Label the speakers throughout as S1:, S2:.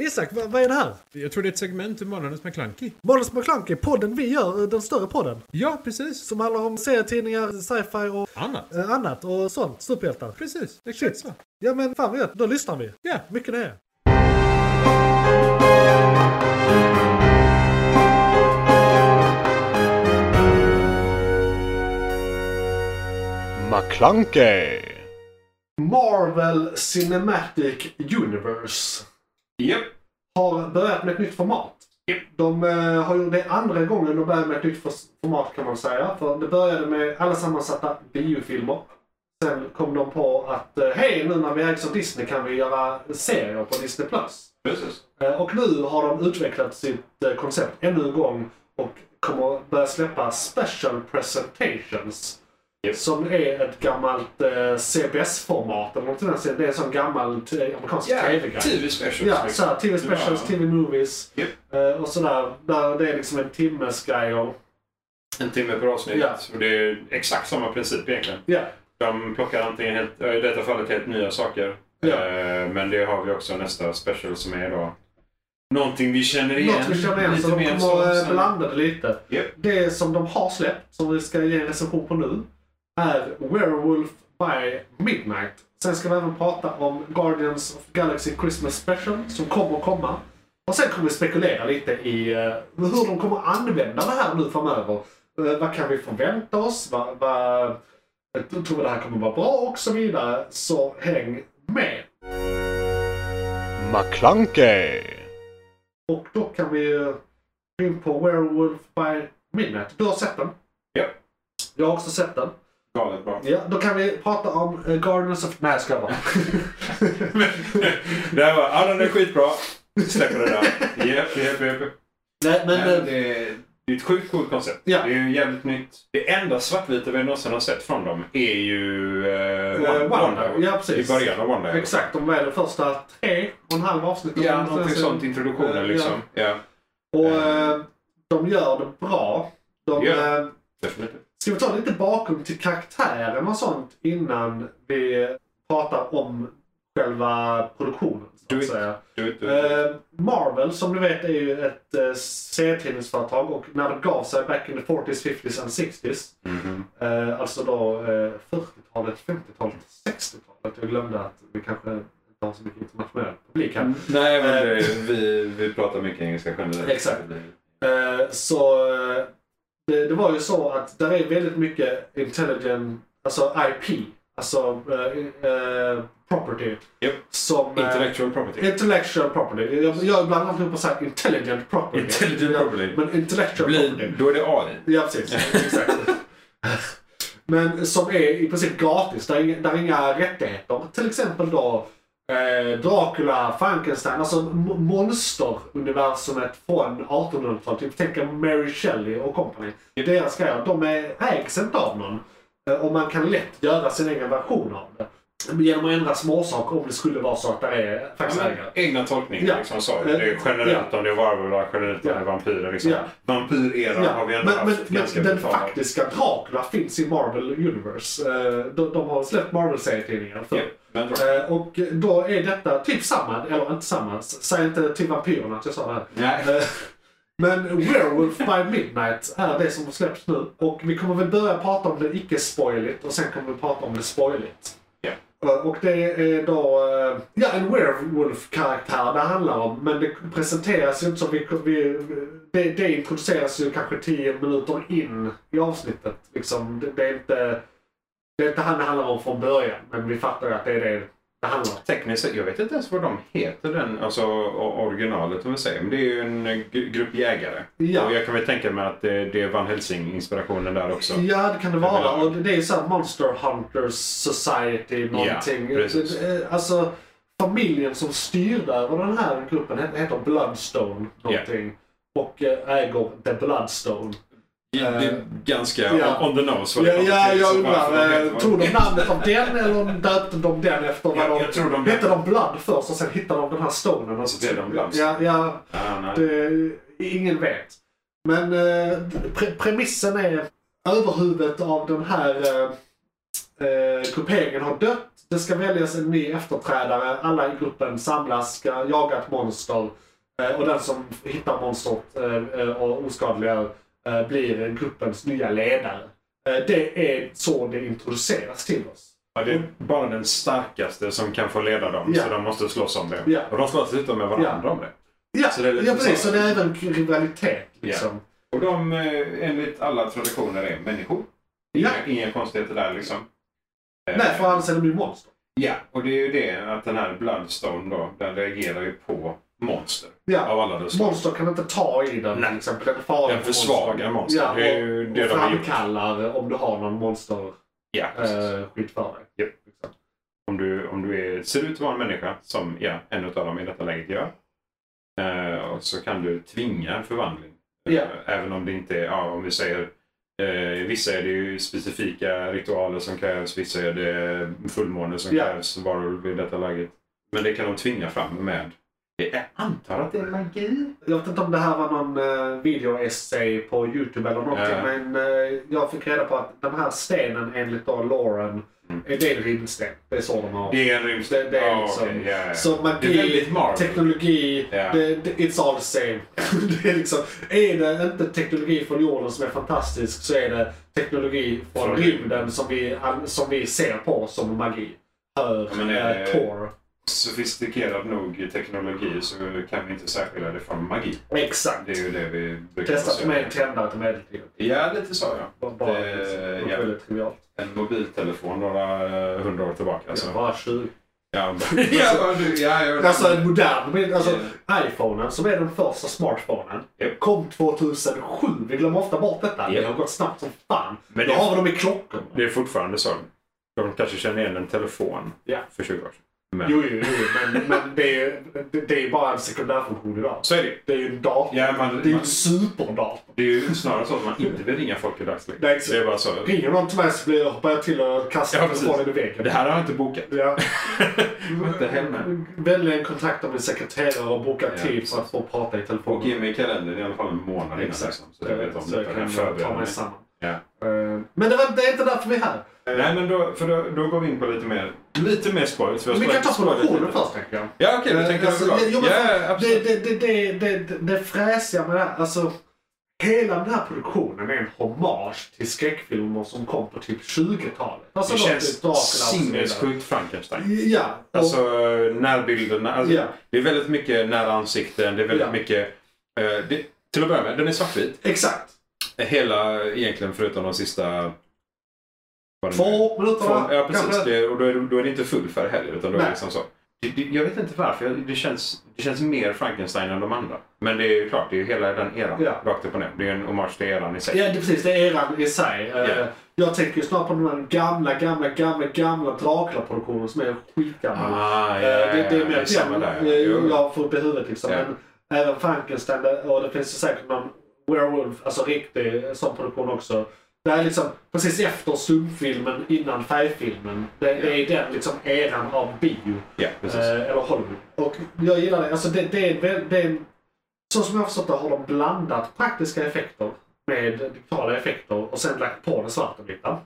S1: Isak, vad, vad är det här?
S2: Jag tror det är ett segment ur Månadens McKlunky.
S1: Månadens McKlunky, podden vi gör, eh, den större podden.
S2: Ja, precis.
S1: Som handlar om serietidningar, sci-fi och
S2: Annat.
S1: eh, annat och sånt. Superhjältar.
S2: Precis, exakt så.
S1: Ja men fan vad gött, då lyssnar vi.
S2: Ja,
S1: Mycket nöje.
S3: McClunkey!
S1: Marvel Cinematic Universe
S3: Japp,
S1: har börjat med ett nytt format. De eh, har gjort det andra gången de börjar med ett nytt fors- format kan man säga. För det började med alla sammansatta biofilmer. Sen kom de på att eh, hej, nu när vi ägs av Disney kan vi göra serier på Disney+. Plus.
S3: precis.
S1: Eh, Och nu har de utvecklat sitt eh, koncept ännu en gång och kommer börja släppa special presentations.
S3: Yep.
S1: Som är ett gammalt eh, CBS-format. eller något sånt där. Det är en sån gammal t- amerikansk tv-grej.
S3: TV specials.
S1: Ja, så här, TV specials,
S3: Ja.
S1: TV movies
S3: Yep.
S1: eh, och sådär. Där det är liksom en timmes grej. Och,
S3: En timme per avsnitt.
S1: Ja.
S3: Och det är exakt samma princip egentligen.
S1: ja,
S3: De plockar antingen helt, i detta fallet helt nya saker.
S1: Ja.
S3: Eh, Men det har vi också nästa special som är då någonting vi känner igen.
S1: något vi känner igen. Så
S3: Lite
S1: de
S3: mer så,
S1: kommer eh,
S3: sen-
S1: blanda det lite.
S3: Yep.
S1: Det som de har släppt, som vi ska ge en recension på nu, är Werewolf by Midnight. Sen ska vi även prata om Guardians of the Galaxy Christmas Special som kommer komma. Och sen kommer vi spekulera lite i eh, hur de kommer använda det här nu framöver. Eh, vad kan vi förvänta oss? Vad, vad, jag tror vi det här kommer vara bra och så vidare. Så häng med!
S3: McClunkey!
S1: Och då kan vi ju gå in på Werewolf by Midnight. Du har sett den?
S3: Ja.
S1: Jag har också sett den.
S3: Galet bra.
S1: Ja, då kan vi prata om eh, Guardians of... Nej, jag skojar bara.
S3: det här var, ja den är skitbra. Släpper det där. Japp, japp, japp.
S1: Nej, men...
S3: Nej,
S1: eh,
S3: det, det är ett sjukt coolt koncept.
S1: Ja.
S3: Det är ju jävligt nytt. Det enda svartvita vi någonsin har sett från dem är ju eh,
S1: Eh,
S3: Wonder.
S1: Wonder, ja, precis.
S3: I början av Wonder.
S1: Exakt, de var i de första tre och en halv avsnitten.
S3: Ja,
S1: Men sen-
S3: någonting sånt. Introduktionen
S1: Eh,
S3: liksom. Ja.
S1: Ja. Och eh, de gör det bra. De,
S3: Ja.
S1: eh,
S3: definitivt.
S1: ska vi ta lite bakom till karaktären och sånt innan vi pratar om själva produktionen? Så
S3: Do
S1: att
S3: it.
S1: säga.
S3: Du, du,
S1: Eh, Marvel som ni vet är ju ett eh, serietidningsföretag och när det gav sig back in the 40s, 50s and 60s.
S3: Mhm.
S1: Eh, alltså då eh, 40-talet, 50-talet, 60-talet. Jag glömde att vi kanske inte har så mycket internationell publik här.
S3: Nej, men
S1: eh,
S3: det, vi, vi pratar mycket engelska generellt.
S1: Exakt. Eh, så eh, det, det var ju så att där är väldigt mycket intelligent, alltså IP, alltså eh, eh, property.
S3: Japp.
S1: Som, eh,
S3: Intellectual property.
S1: Intellectual property. Jag, jag blandar alltid upp och säger intelligent property.
S3: Intelligent
S1: Ja,
S3: property.
S1: Men intellectual
S3: Blir,
S1: property.
S3: då är det AI.
S1: Ja, precis. Exakt. men som är i princip gratis. Där är, inga- där är inga rättigheter. Till exempel då eh, Dracula, Frankenstein. Alltså m- monsteruniversumet från 1800-talet. Typ tänk er Mary Shelley och company. Deras grejer. De är, ägs inte av någon. Eh, Och man kan lätt göra sin egen version av det. Genom att ändra småsaker om det skulle vara så att det är faktiskt
S3: Ja, men
S1: ägare.
S3: Egna tolkningar
S1: Ja. Eh,
S3: liksom så. Det är generellt om det är varulvar, generellt om det är
S1: Ja.
S3: vampyrer. Liksom.
S1: Ja.
S3: Vampyreran har vi ändå
S1: men, men,
S3: haft ganska
S1: men den
S3: brutala.
S1: faktiska Dracula finns i Marvel Universe. Eh, De, de har släppt Marvel-serietidningar
S3: Ja,
S1: förr.
S3: men då-
S1: Eh, Och då är detta typ samma, eller inte samma. S- Säg inte till vampyrerna att jag sa det här.
S3: Nej.
S1: Eh, Men Werewolf by Midnight är det som släpps nu. Och vi kommer väl börja prata om det icke-spoiligt och sen kommer vi prata om det spoiligt.
S3: Ja.
S1: Eh, Och det är då eh, ja, en werewolf-karaktär det handlar om. Men det presenteras ju inte som vi... vi det, det introduceras ju kanske 10 minuter in i avsnittet. Liksom, det, det, är inte, det är inte han det handlar om från början. Men vi fattar ju att det är det det handlar om.
S3: Tekniskt sett, jag vet inte ens vad de heter, den, alltså o- originalet om vi säger. Men det är ju en eh, gru- grupp jägare.
S1: Ja.
S3: Och jag kan väl tänka mig att det, det är Van Helsing-inspirationen där också.
S1: Ja, det kan det vara.
S3: menar-
S1: Och det är ju såhär Monster Hunters Society någonting.
S3: Ja, precis.
S1: Eh, alltså, familjen som styrde över den här gruppen het- heter Bloodstone någonting. Och eh, äger The Bloodstone.
S3: Det är ganska
S1: ja.
S3: on, on the nose. vad
S1: Ja,
S3: det kommer
S1: ja
S3: till,
S1: jag
S3: så varför
S1: undrar.
S3: heter
S1: eh,
S3: vad
S1: Tog de
S3: heter.
S1: namnet av den eller döpte de den efter vad
S3: Jag-
S1: de...
S3: jag tror de-
S1: Hette de Blood först och sen hittade de den här stonen? Och
S3: Så blev de Bloodstone.
S1: Ja, ja.
S3: Ah, nej.
S1: Det, eh, ingen vet. Men eh, pre- premissen är överhuvudet av den här eh, eh, grupperingen har dött. Det ska väljas en ny efterträdare. Alla i gruppen samlas, ska jaga ett monster. Eh, och den som hittar monstret eh, eh, och oskadliggör eh, blir gruppens nya ledare. Eh, det är så det introduceras till oss.
S3: Ja, det är bara den starkaste som kan få leda dem.
S1: Ja.
S3: Så de måste slåss om det.
S1: Ja.
S3: Och de slåss dessutom med varandra om det.
S1: Ja,
S3: Så det är lite
S1: ja precis.
S3: så.
S1: Så det är även rivalitet. Liksom.
S3: Och de, eh, enligt alla traditioner, är människor. Inga,
S1: Ja.
S3: inga konstigheter där liksom. Eh,
S1: Nej, för annars är de ju monster.
S3: Ja, och det är ju det att den här Bloodstone då, den reagerar ju på monster.
S1: Ja.
S3: Av alla dess slag.
S1: Monster kan inte ta i den
S3: Nej.
S1: till exempel. Den är farlig
S3: Den
S1: för
S3: försvagar monster.
S1: Ja, och,
S3: det är ju det
S1: och
S3: de har gjort.
S1: framkallar eh, om du har någon monster
S3: Ja, precis.
S1: eh, skit för dig.
S3: Japp. Om du, om du är, ser ut att vara en människa, som ja, en av dem i detta läget gör. Eh, och så kan du tvinga en förvandling. Eh,
S1: Ja.
S3: Även om det inte är, ja, om vi säger, eh, vissa är det ju specifika ritualer som krävs, vissa är det fullmåne som
S1: Ja.
S3: krävs, varulv i detta läget. Men det kan de tvinga fram med, jag antar att det är magi.
S1: Jag vet inte om det här var någon eh, videoessay på Youtube eller någonting.
S3: Ja.
S1: Men eh, jag fick reda på att den här stenen enligt då Lauren,
S3: Mm.
S1: är det en rymdsten. Det är så de har.
S3: Det är en rymdstil.
S1: Det- det är
S3: Ja,
S1: liksom-
S3: okej, ja, ja.
S1: Så
S3: det är
S1: magi,
S3: väldigt Marvel.
S1: teknologi,
S3: Ja.
S1: det, det, it's all the same. det är, liksom, är det inte teknologi från jorden som är fantastisk så är det teknologi från
S3: Från
S1: rymden som vi, an- som vi ser på som magi. Hör
S3: Ja, men är
S1: eh,
S3: det-
S1: Tor.
S3: Sofistikerad nog i teknologi så kan vi inte särskilja det från magi.
S1: Exakt.
S3: Det är ju det vi brukar
S1: Testat
S3: säga.
S1: med en tändare till medeltiden.
S3: Ja, lite så ja.
S1: Bara- Bara
S3: Eh,
S1: liksom,
S3: ja.
S1: väldigt trivialt.
S3: En mobiltelefon några eh, hundra år tillbaka. Alltså.
S1: Jag var 20.
S3: Ja, ja, vad du, ja, jag,
S1: Alltså en modern bild. Alltså, iPhonen som är den första smartphonen
S3: Japp.
S1: kom 2007. Vi glömmer ofta bort detta. Det
S3: Japp.
S1: har gått snabbt som fan.
S3: Men
S1: Då
S3: det-
S1: har vi dem i klockorna.
S3: det är fortfarande så. De kanske känner igen en telefon
S1: Ja.
S3: för 20 år sedan. Men
S1: Jo, jo, jo. Men, men det, är, ju- det, det är ju bara en sekundärfunktion idag.
S3: så är det ju.
S1: Det är ju en dator.
S3: ja, man,
S1: Det är ju
S3: man,
S1: en superdator.
S3: Det är ju snarare så att man inte vill ringa folk i dagsläget.
S1: Nej, exakt.
S3: Det är bara så.
S1: Ringer någon till mig så blir jag, hoppar jag till och kastar
S3: Ja, precis.
S1: telefonen i väggen.
S3: Det här har jag inte bokat.
S1: Ja.
S3: Inte hemma.
S1: Vänligen kontakta min sekreterare och boka
S3: Ja,
S1: tid för att få prata i telefon.
S3: Och ge mig kalendern i alla fall en månad innan. Liksom, så jag vet om
S1: så
S3: det.
S1: jag kan ta mig samman.
S3: Ja.
S1: Eh, Men det, var, det är inte därför vi är här.
S3: Nej, men då, för då, då går vi in på lite mer, lite mer spoilers. har
S1: Vi kan ta
S3: spoilat- spoilat
S1: produktionen
S3: lite.
S1: först tänker jag.
S3: Ja, okej. du tänker
S1: Eh, alltså,
S3: överlag.
S1: jo, men
S3: Ja,
S1: fan, det,
S3: absolut.
S1: det, det, det, det, det, det fräsiga med det här, alltså Hela den här produktionen är en hommage till skräckfilmer som kom på typ 20-talet. Alltså
S3: Det
S1: då
S3: känns
S1: typ Dracula och så vidare.
S3: sinnessjukt Frankenstein.
S1: Ja. och-
S3: Alltså närbilderna. Alltså,
S1: Ja.
S3: Det är väldigt mycket nära ansikten. Det är väldigt
S1: Ja.
S3: mycket... eh, det, till att börja med, den är svartvit.
S1: Exakt.
S3: Hela egentligen förutom de sista... vad det nu är.
S1: Två minuter va?
S3: mm. Två- Ja, precis.
S1: Kanske?
S3: Det, och då är, det, då är det inte full färg heller. Utan då är det
S1: Nej.
S3: liksom så. Det, det, jag vet inte varför. Jag- Det känns, det känns mer Frankenstein än de andra. Men det är ju klart, det är ju hela den eran.
S1: Ja.
S3: Rakt upp och ner. Det är ju en hommage till eran i sig.
S1: Ja, det, precis. Det är eran i sig. Eh,
S3: Ja.
S1: Jag tänker ju snart på de här gamla, gamla, gamla, gamla Dracula-produktionen som är skitgammal.
S3: Ah, ja,
S1: Eh, det, det är
S3: ja,
S1: mer
S3: samma
S1: den
S3: där.
S1: eh,
S3: Jo.
S1: jag får upp i huvudet liksom.
S3: Ja.
S1: Men även Frankenstein det- och det finns ju säkert någon Werewolf, alltså riktig eh, sån produktion också. Det är liksom precis efter stumfilmen, innan färgfilmen. Det, det är den liksom eran av bio.
S3: Ja, precis.
S1: Eh, eller Hollywood. Och jag gillar det. Alltså det, det, är, väl- det är, en- så som jag har förstått det har de blandat praktiska effekter med digitala effekter och sen lagt på den svarta blittan.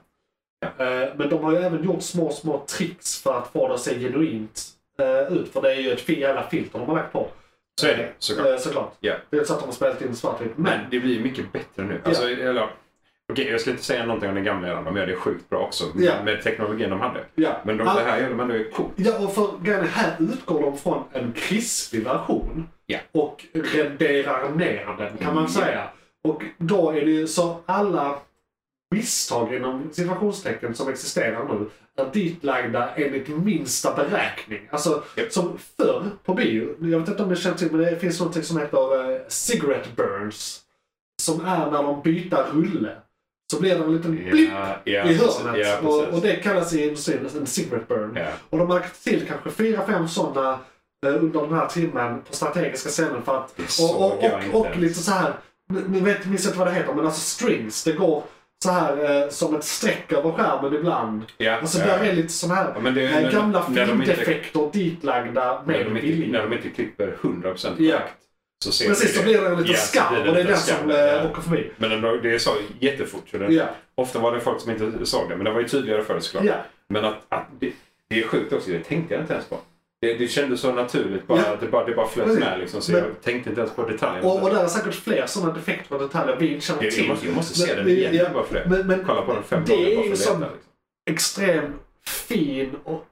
S3: Ja.
S1: Eh, men de har ju även gjort små, små tricks för att få det att se genuint eh, ut. För det är ju ett fi- jävla filter de har lagt på.
S3: Så är det, såklart.
S1: Eh, såklart.
S3: Ja.
S1: Det är inte så att de har spelat in svartvitt. Men
S3: Men det blir ju mycket bättre nu.
S1: Ja.
S3: Alltså, eller, okej, jag ska inte säga någonting om den gamla eran. De gör det sjukt bra också med-
S1: Ja.
S3: med teknologin de hade.
S1: ja.
S3: Men de,
S1: All-
S3: det här gör de ändå coolt.
S1: Ja, och för grejen är, här utgår de från en krispig version
S3: Ja.
S1: och renderar ner den kan
S3: Mm.
S1: man säga. Och då är det ju så alla misstag inom situationstecken som existerar nu är ditlagda enligt minsta beräkning. Alltså
S3: Japp.
S1: som förr på bio, jag vet inte om ni känner till men det finns något som heter eh, cigarette burns. Som är när de byter rulle. Så blir det en liten blipp
S3: ja,
S1: i
S3: precis.
S1: hörnet.
S3: Ja,
S1: och,
S3: precis.
S1: och det kallas i industrin en cigarette burn.
S3: Ja.
S1: Och de har lagt till kanske fyra, fem sådana eh, under den här timmen på strategiska scener för att...
S3: Det såg
S1: Och, och,
S3: jag
S1: och,
S3: inte
S1: och
S3: ens.
S1: lite så här, ni ni vet, minns inte vad det heter, men alltså strings, det går så här eh, som ett streck över skärmen ibland.
S3: Ja,
S1: Alltså
S3: ja.
S1: där är lite sådana här
S3: Ja, men det är
S1: eh,
S3: när-
S1: gamla
S3: när de inte-
S1: filmdefekter ditlagda
S3: när,
S1: med
S3: de inte,
S1: vilja.
S3: när de inte klipper 100% korrekt.
S1: Ja.
S3: Så ser
S1: Precis,
S3: vi
S1: så blir det en liten
S3: Ja, så
S1: skarv
S3: blir det
S1: och det är
S3: lite
S1: den som
S3: skarv,
S1: eh,
S3: ja.
S1: åker förbi.
S3: Men ändå, det sa jättefort. Så det,
S1: Ja,
S3: Ofta var det folk som inte såg det, men det var ju tydligare förr såklart.
S1: ja.
S3: Men att, att det, det är sjukt också, det tänkte jag inte ens på. Det, det kändes så naturligt, bara,
S1: Ja.
S3: att det bara, det bara flöt
S1: Precis.
S3: med liksom. Så
S1: Men-
S3: jag tänkte inte ens på detaljerna.
S1: Och, och där är säkert fler sådana defekter och detaljer vi inte känner
S3: jag, jag,
S1: till.
S3: måste, jag måste se
S1: Men-
S3: den
S1: men-
S3: igen
S1: ja,
S3: bara för det.
S1: Men, men
S3: Kolla på den fem
S1: det
S3: gånger
S1: är
S3: bara för
S1: ju
S3: att
S1: som-
S3: veta. Liksom.
S1: extremt fin och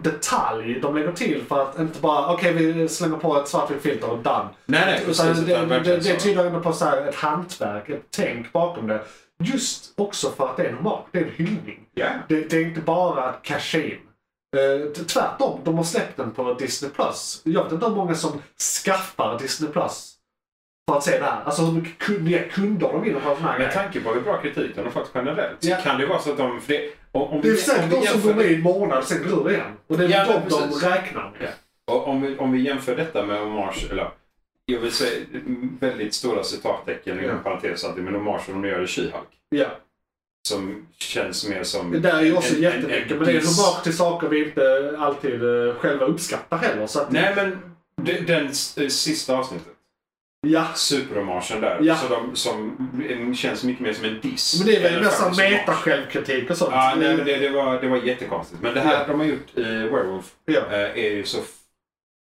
S1: detalj de lägger till för att inte bara okej vi slänger på ett svartvitt filter och done.
S3: Nej, nej, precis.
S1: Utan det,
S3: utan
S1: det,
S3: verkligen
S1: det,
S3: så.
S1: tyder ändå på så här ett hantverk, ett tänk bakom det. Just också för att det är en mark, det är en hyllning.
S3: Ja.
S1: Det, det är inte bara att casha in. Eh, t- tvärtom, de har släppt den på Disney+. Plus. Jag vet inte hur många som skaffar Disney+. Plus för att se det här. Alltså hur mycket kun- nya kunder de vinner på en sån här
S3: Med
S1: grej.
S3: tanke på hur bra kritiken har fått generellt
S1: Ja.
S3: så kan det vara så att de... För det, om, om
S1: Det är
S3: vi- om
S1: säkert
S3: vi
S1: de som
S3: jämför-
S1: går med i en månad, sen går det igen. Och det är
S3: Ja,
S1: de
S3: men precis.
S1: de räknar med.
S3: Och om, vi, om vi jämför detta med hommage, eller jag vill säga väldigt stora citattecken inom
S1: Ja.
S3: parentes alltid, men hommage som de gör i She-Hulk.
S1: Ja.
S3: Som känns mer som...
S1: Det där är ju också
S3: En- en-
S1: jättemycket,
S3: en
S1: men det är
S3: diss.
S1: hommage till saker vi inte alltid eh, själva uppskattar heller. Så att,
S3: Nej men, de- den s- eh, sista avsnittet.
S1: ja.
S3: Superhommagen där.
S1: Ja.
S3: Så de, som en- känns mycket mer som en diss.
S1: Men det är väl
S3: Eller
S1: nästan
S3: faktiskt hommage.
S1: meta-självkritik och sånt.
S3: Ja, nej, men det, det, var, det var jättekonstigt. Men det
S1: Mm.
S3: här
S1: Ja.
S3: de har gjort i Werewolf
S1: Ja.
S3: eh, är ju så... f-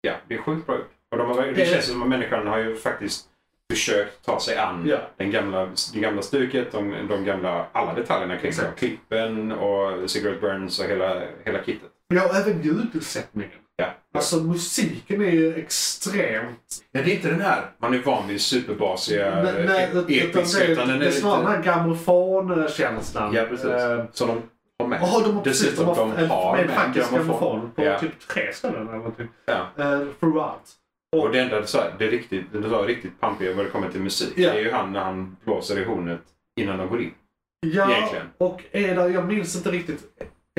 S3: Ja, det är sjukt bra gjort. Och de har,
S1: Det
S3: det
S1: är-
S3: känns som att människan har ju faktiskt försökt ta sig an
S1: Ja.
S3: den gamla, det gamla stuket, de, de gamla, alla detaljerna kring
S1: Exakt.
S3: klippen och cigarette burns och hela, hela kittet.
S1: Ja, och även ljudsättningen.
S3: Ja.
S1: Alltså musiken är ju extremt...
S3: Nej, det är inte den här. Man är van vid superbasiga eh,
S1: Nej, nej, utan det,
S3: episka, e- utan
S1: är-
S3: den
S1: det
S3: är
S1: är snarare den
S3: lite...
S1: här grammofonkänslan.
S3: Ja, precis.
S1: Eh,
S3: Så de har med.
S1: Jaha, de har precis
S3: Dessutom,
S1: de har,
S3: de har
S1: med
S3: med
S1: faktiskt
S3: grammofon.
S1: grammofon på
S3: Ja.
S1: typ tre ställen eller någonting.
S3: Ja.
S1: Eh, throughout.
S3: Och det enda du sa, det är riktigt, det var riktigt pampiga vad det kommer till musik.
S1: Ja.
S3: Det är ju han när han blåser i hornet innan de går in.
S1: Ja,
S3: Egentligen.
S1: och är där, jag minns inte riktigt.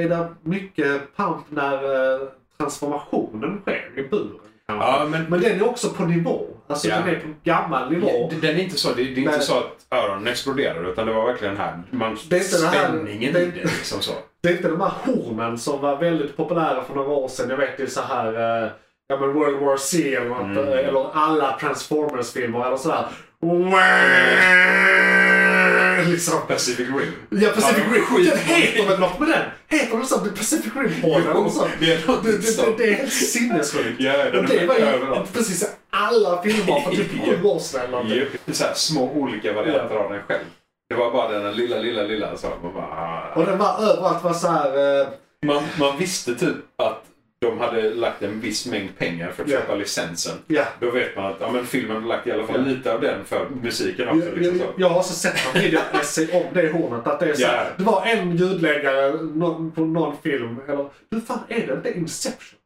S1: Är det mycket pump när eh, transformationen sker i buren? kanske?
S3: Ja, men
S1: Men den är också på nivå. Alltså
S3: Ja.
S1: den är på gammal nivå.
S3: den är inte så, det, det är inte
S1: Nej.
S3: så att öronen exploderar utan det var verkligen här, man,
S1: Det är inte det här-
S3: spänningen
S1: det-
S3: i det liksom så.
S1: Det är inte de här hornen som var väldigt populära för några år sedan. Jag vet ju så här... eh, Ja men World War C eller, något,
S3: Mm.
S1: eh, eller alla Transformers-filmer eller sådär. Liksom.
S3: Pacific Rim.
S1: Ja, Pacific
S3: Ja,
S1: Rim.
S3: skit.
S1: Den heter väl något med den? Heter den så? Pacific Rim-porren eller något sånt?
S3: det är
S1: alltså. Det,
S3: något
S1: det, det,
S3: sånt.
S1: det är helt sinnessjukt.
S3: Ja, den
S1: och det
S3: är
S1: var ju
S3: överallt.
S1: precis i alla filmer för typ sju år sedan. eller någonting.
S3: Ju, det är så här, små olika varianter av den själv. Det var bara den där lilla, lilla, lilla. Så man, bara,
S1: Och
S3: ah.
S1: den var överallt var så här... eh,
S3: man, man visste typ att de hade lagt en viss mängd pengar för att
S1: Ja.
S3: köpa licensen.
S1: Ja.
S3: Då vet man att ja, men filmen har lagt i alla fall
S1: Ja.
S3: lite av den för musiken också.
S1: Jag,
S3: liksom
S1: jag,
S3: så.
S1: jag har också sett en videoessay om det hornet. Att det, är så,
S3: Ja.
S1: det var en ljudläggare någon, på någon film. Eller, hur fan är det? Det är Inception.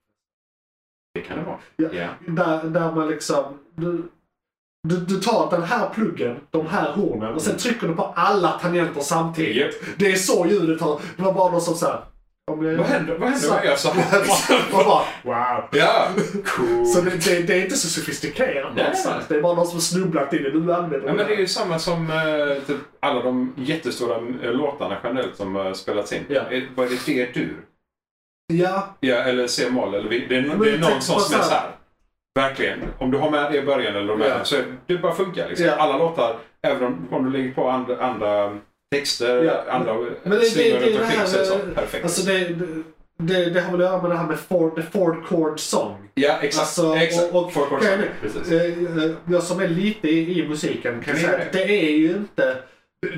S3: Det kan det vara.
S1: Ja.
S3: Ja.
S1: Där, där man liksom... Du, du, du tar den här pluggen, de här hornen och sen trycker du på alla tangenter samtidigt.
S3: Mm. Japp.
S1: Det är så ljudet har... Det var bara någon som såhär... Om jag
S3: Vad händer, vad händer om jag gör så här?
S1: Man bara, wow.
S3: ja. Cool.
S1: Så det, det, det är inte så sofistikerat
S3: Nej.
S1: någonstans. Det är bara någon som snubblat in i det. Du använder
S3: Ja, men det är
S1: här.
S3: ju samma som eh, typ alla de jättestora eh, låtarna generellt som har spelats in.
S1: Ja.
S3: Är- Vad är det? D-dur?
S1: Ja,
S3: Ja, eller C-moll? Eller, vi- det är,
S1: men
S3: det är
S1: jag
S3: någon
S1: tänkte
S3: sån
S1: bara
S3: som är
S1: så
S3: så
S1: här.
S3: här. Verkligen. Om du har med det i början eller om du
S1: Ja.
S3: är- så är- det bara funkar. Liksom.
S1: Ja.
S3: Alla låtar, även om, om du lägger på andra, andra mm, texter,
S1: Ja.
S3: andra
S1: men det, det,
S3: slingor
S1: det, det,
S3: runt
S1: det
S3: omkring så är det så
S1: här...
S3: perfekt.
S1: Alltså det, det- det, det har väl att göra med det här med Ford, the Ford Chord Song.
S3: ja, exakt.
S1: alltså,
S3: exakt.
S1: och- och-
S3: Folk har
S1: kan jag
S3: sagt-
S1: nu-
S3: precis.
S1: Eh, eh, Jag som är lite i, i musiken kan
S3: Det är
S1: säga att
S3: det.
S1: det är ju inte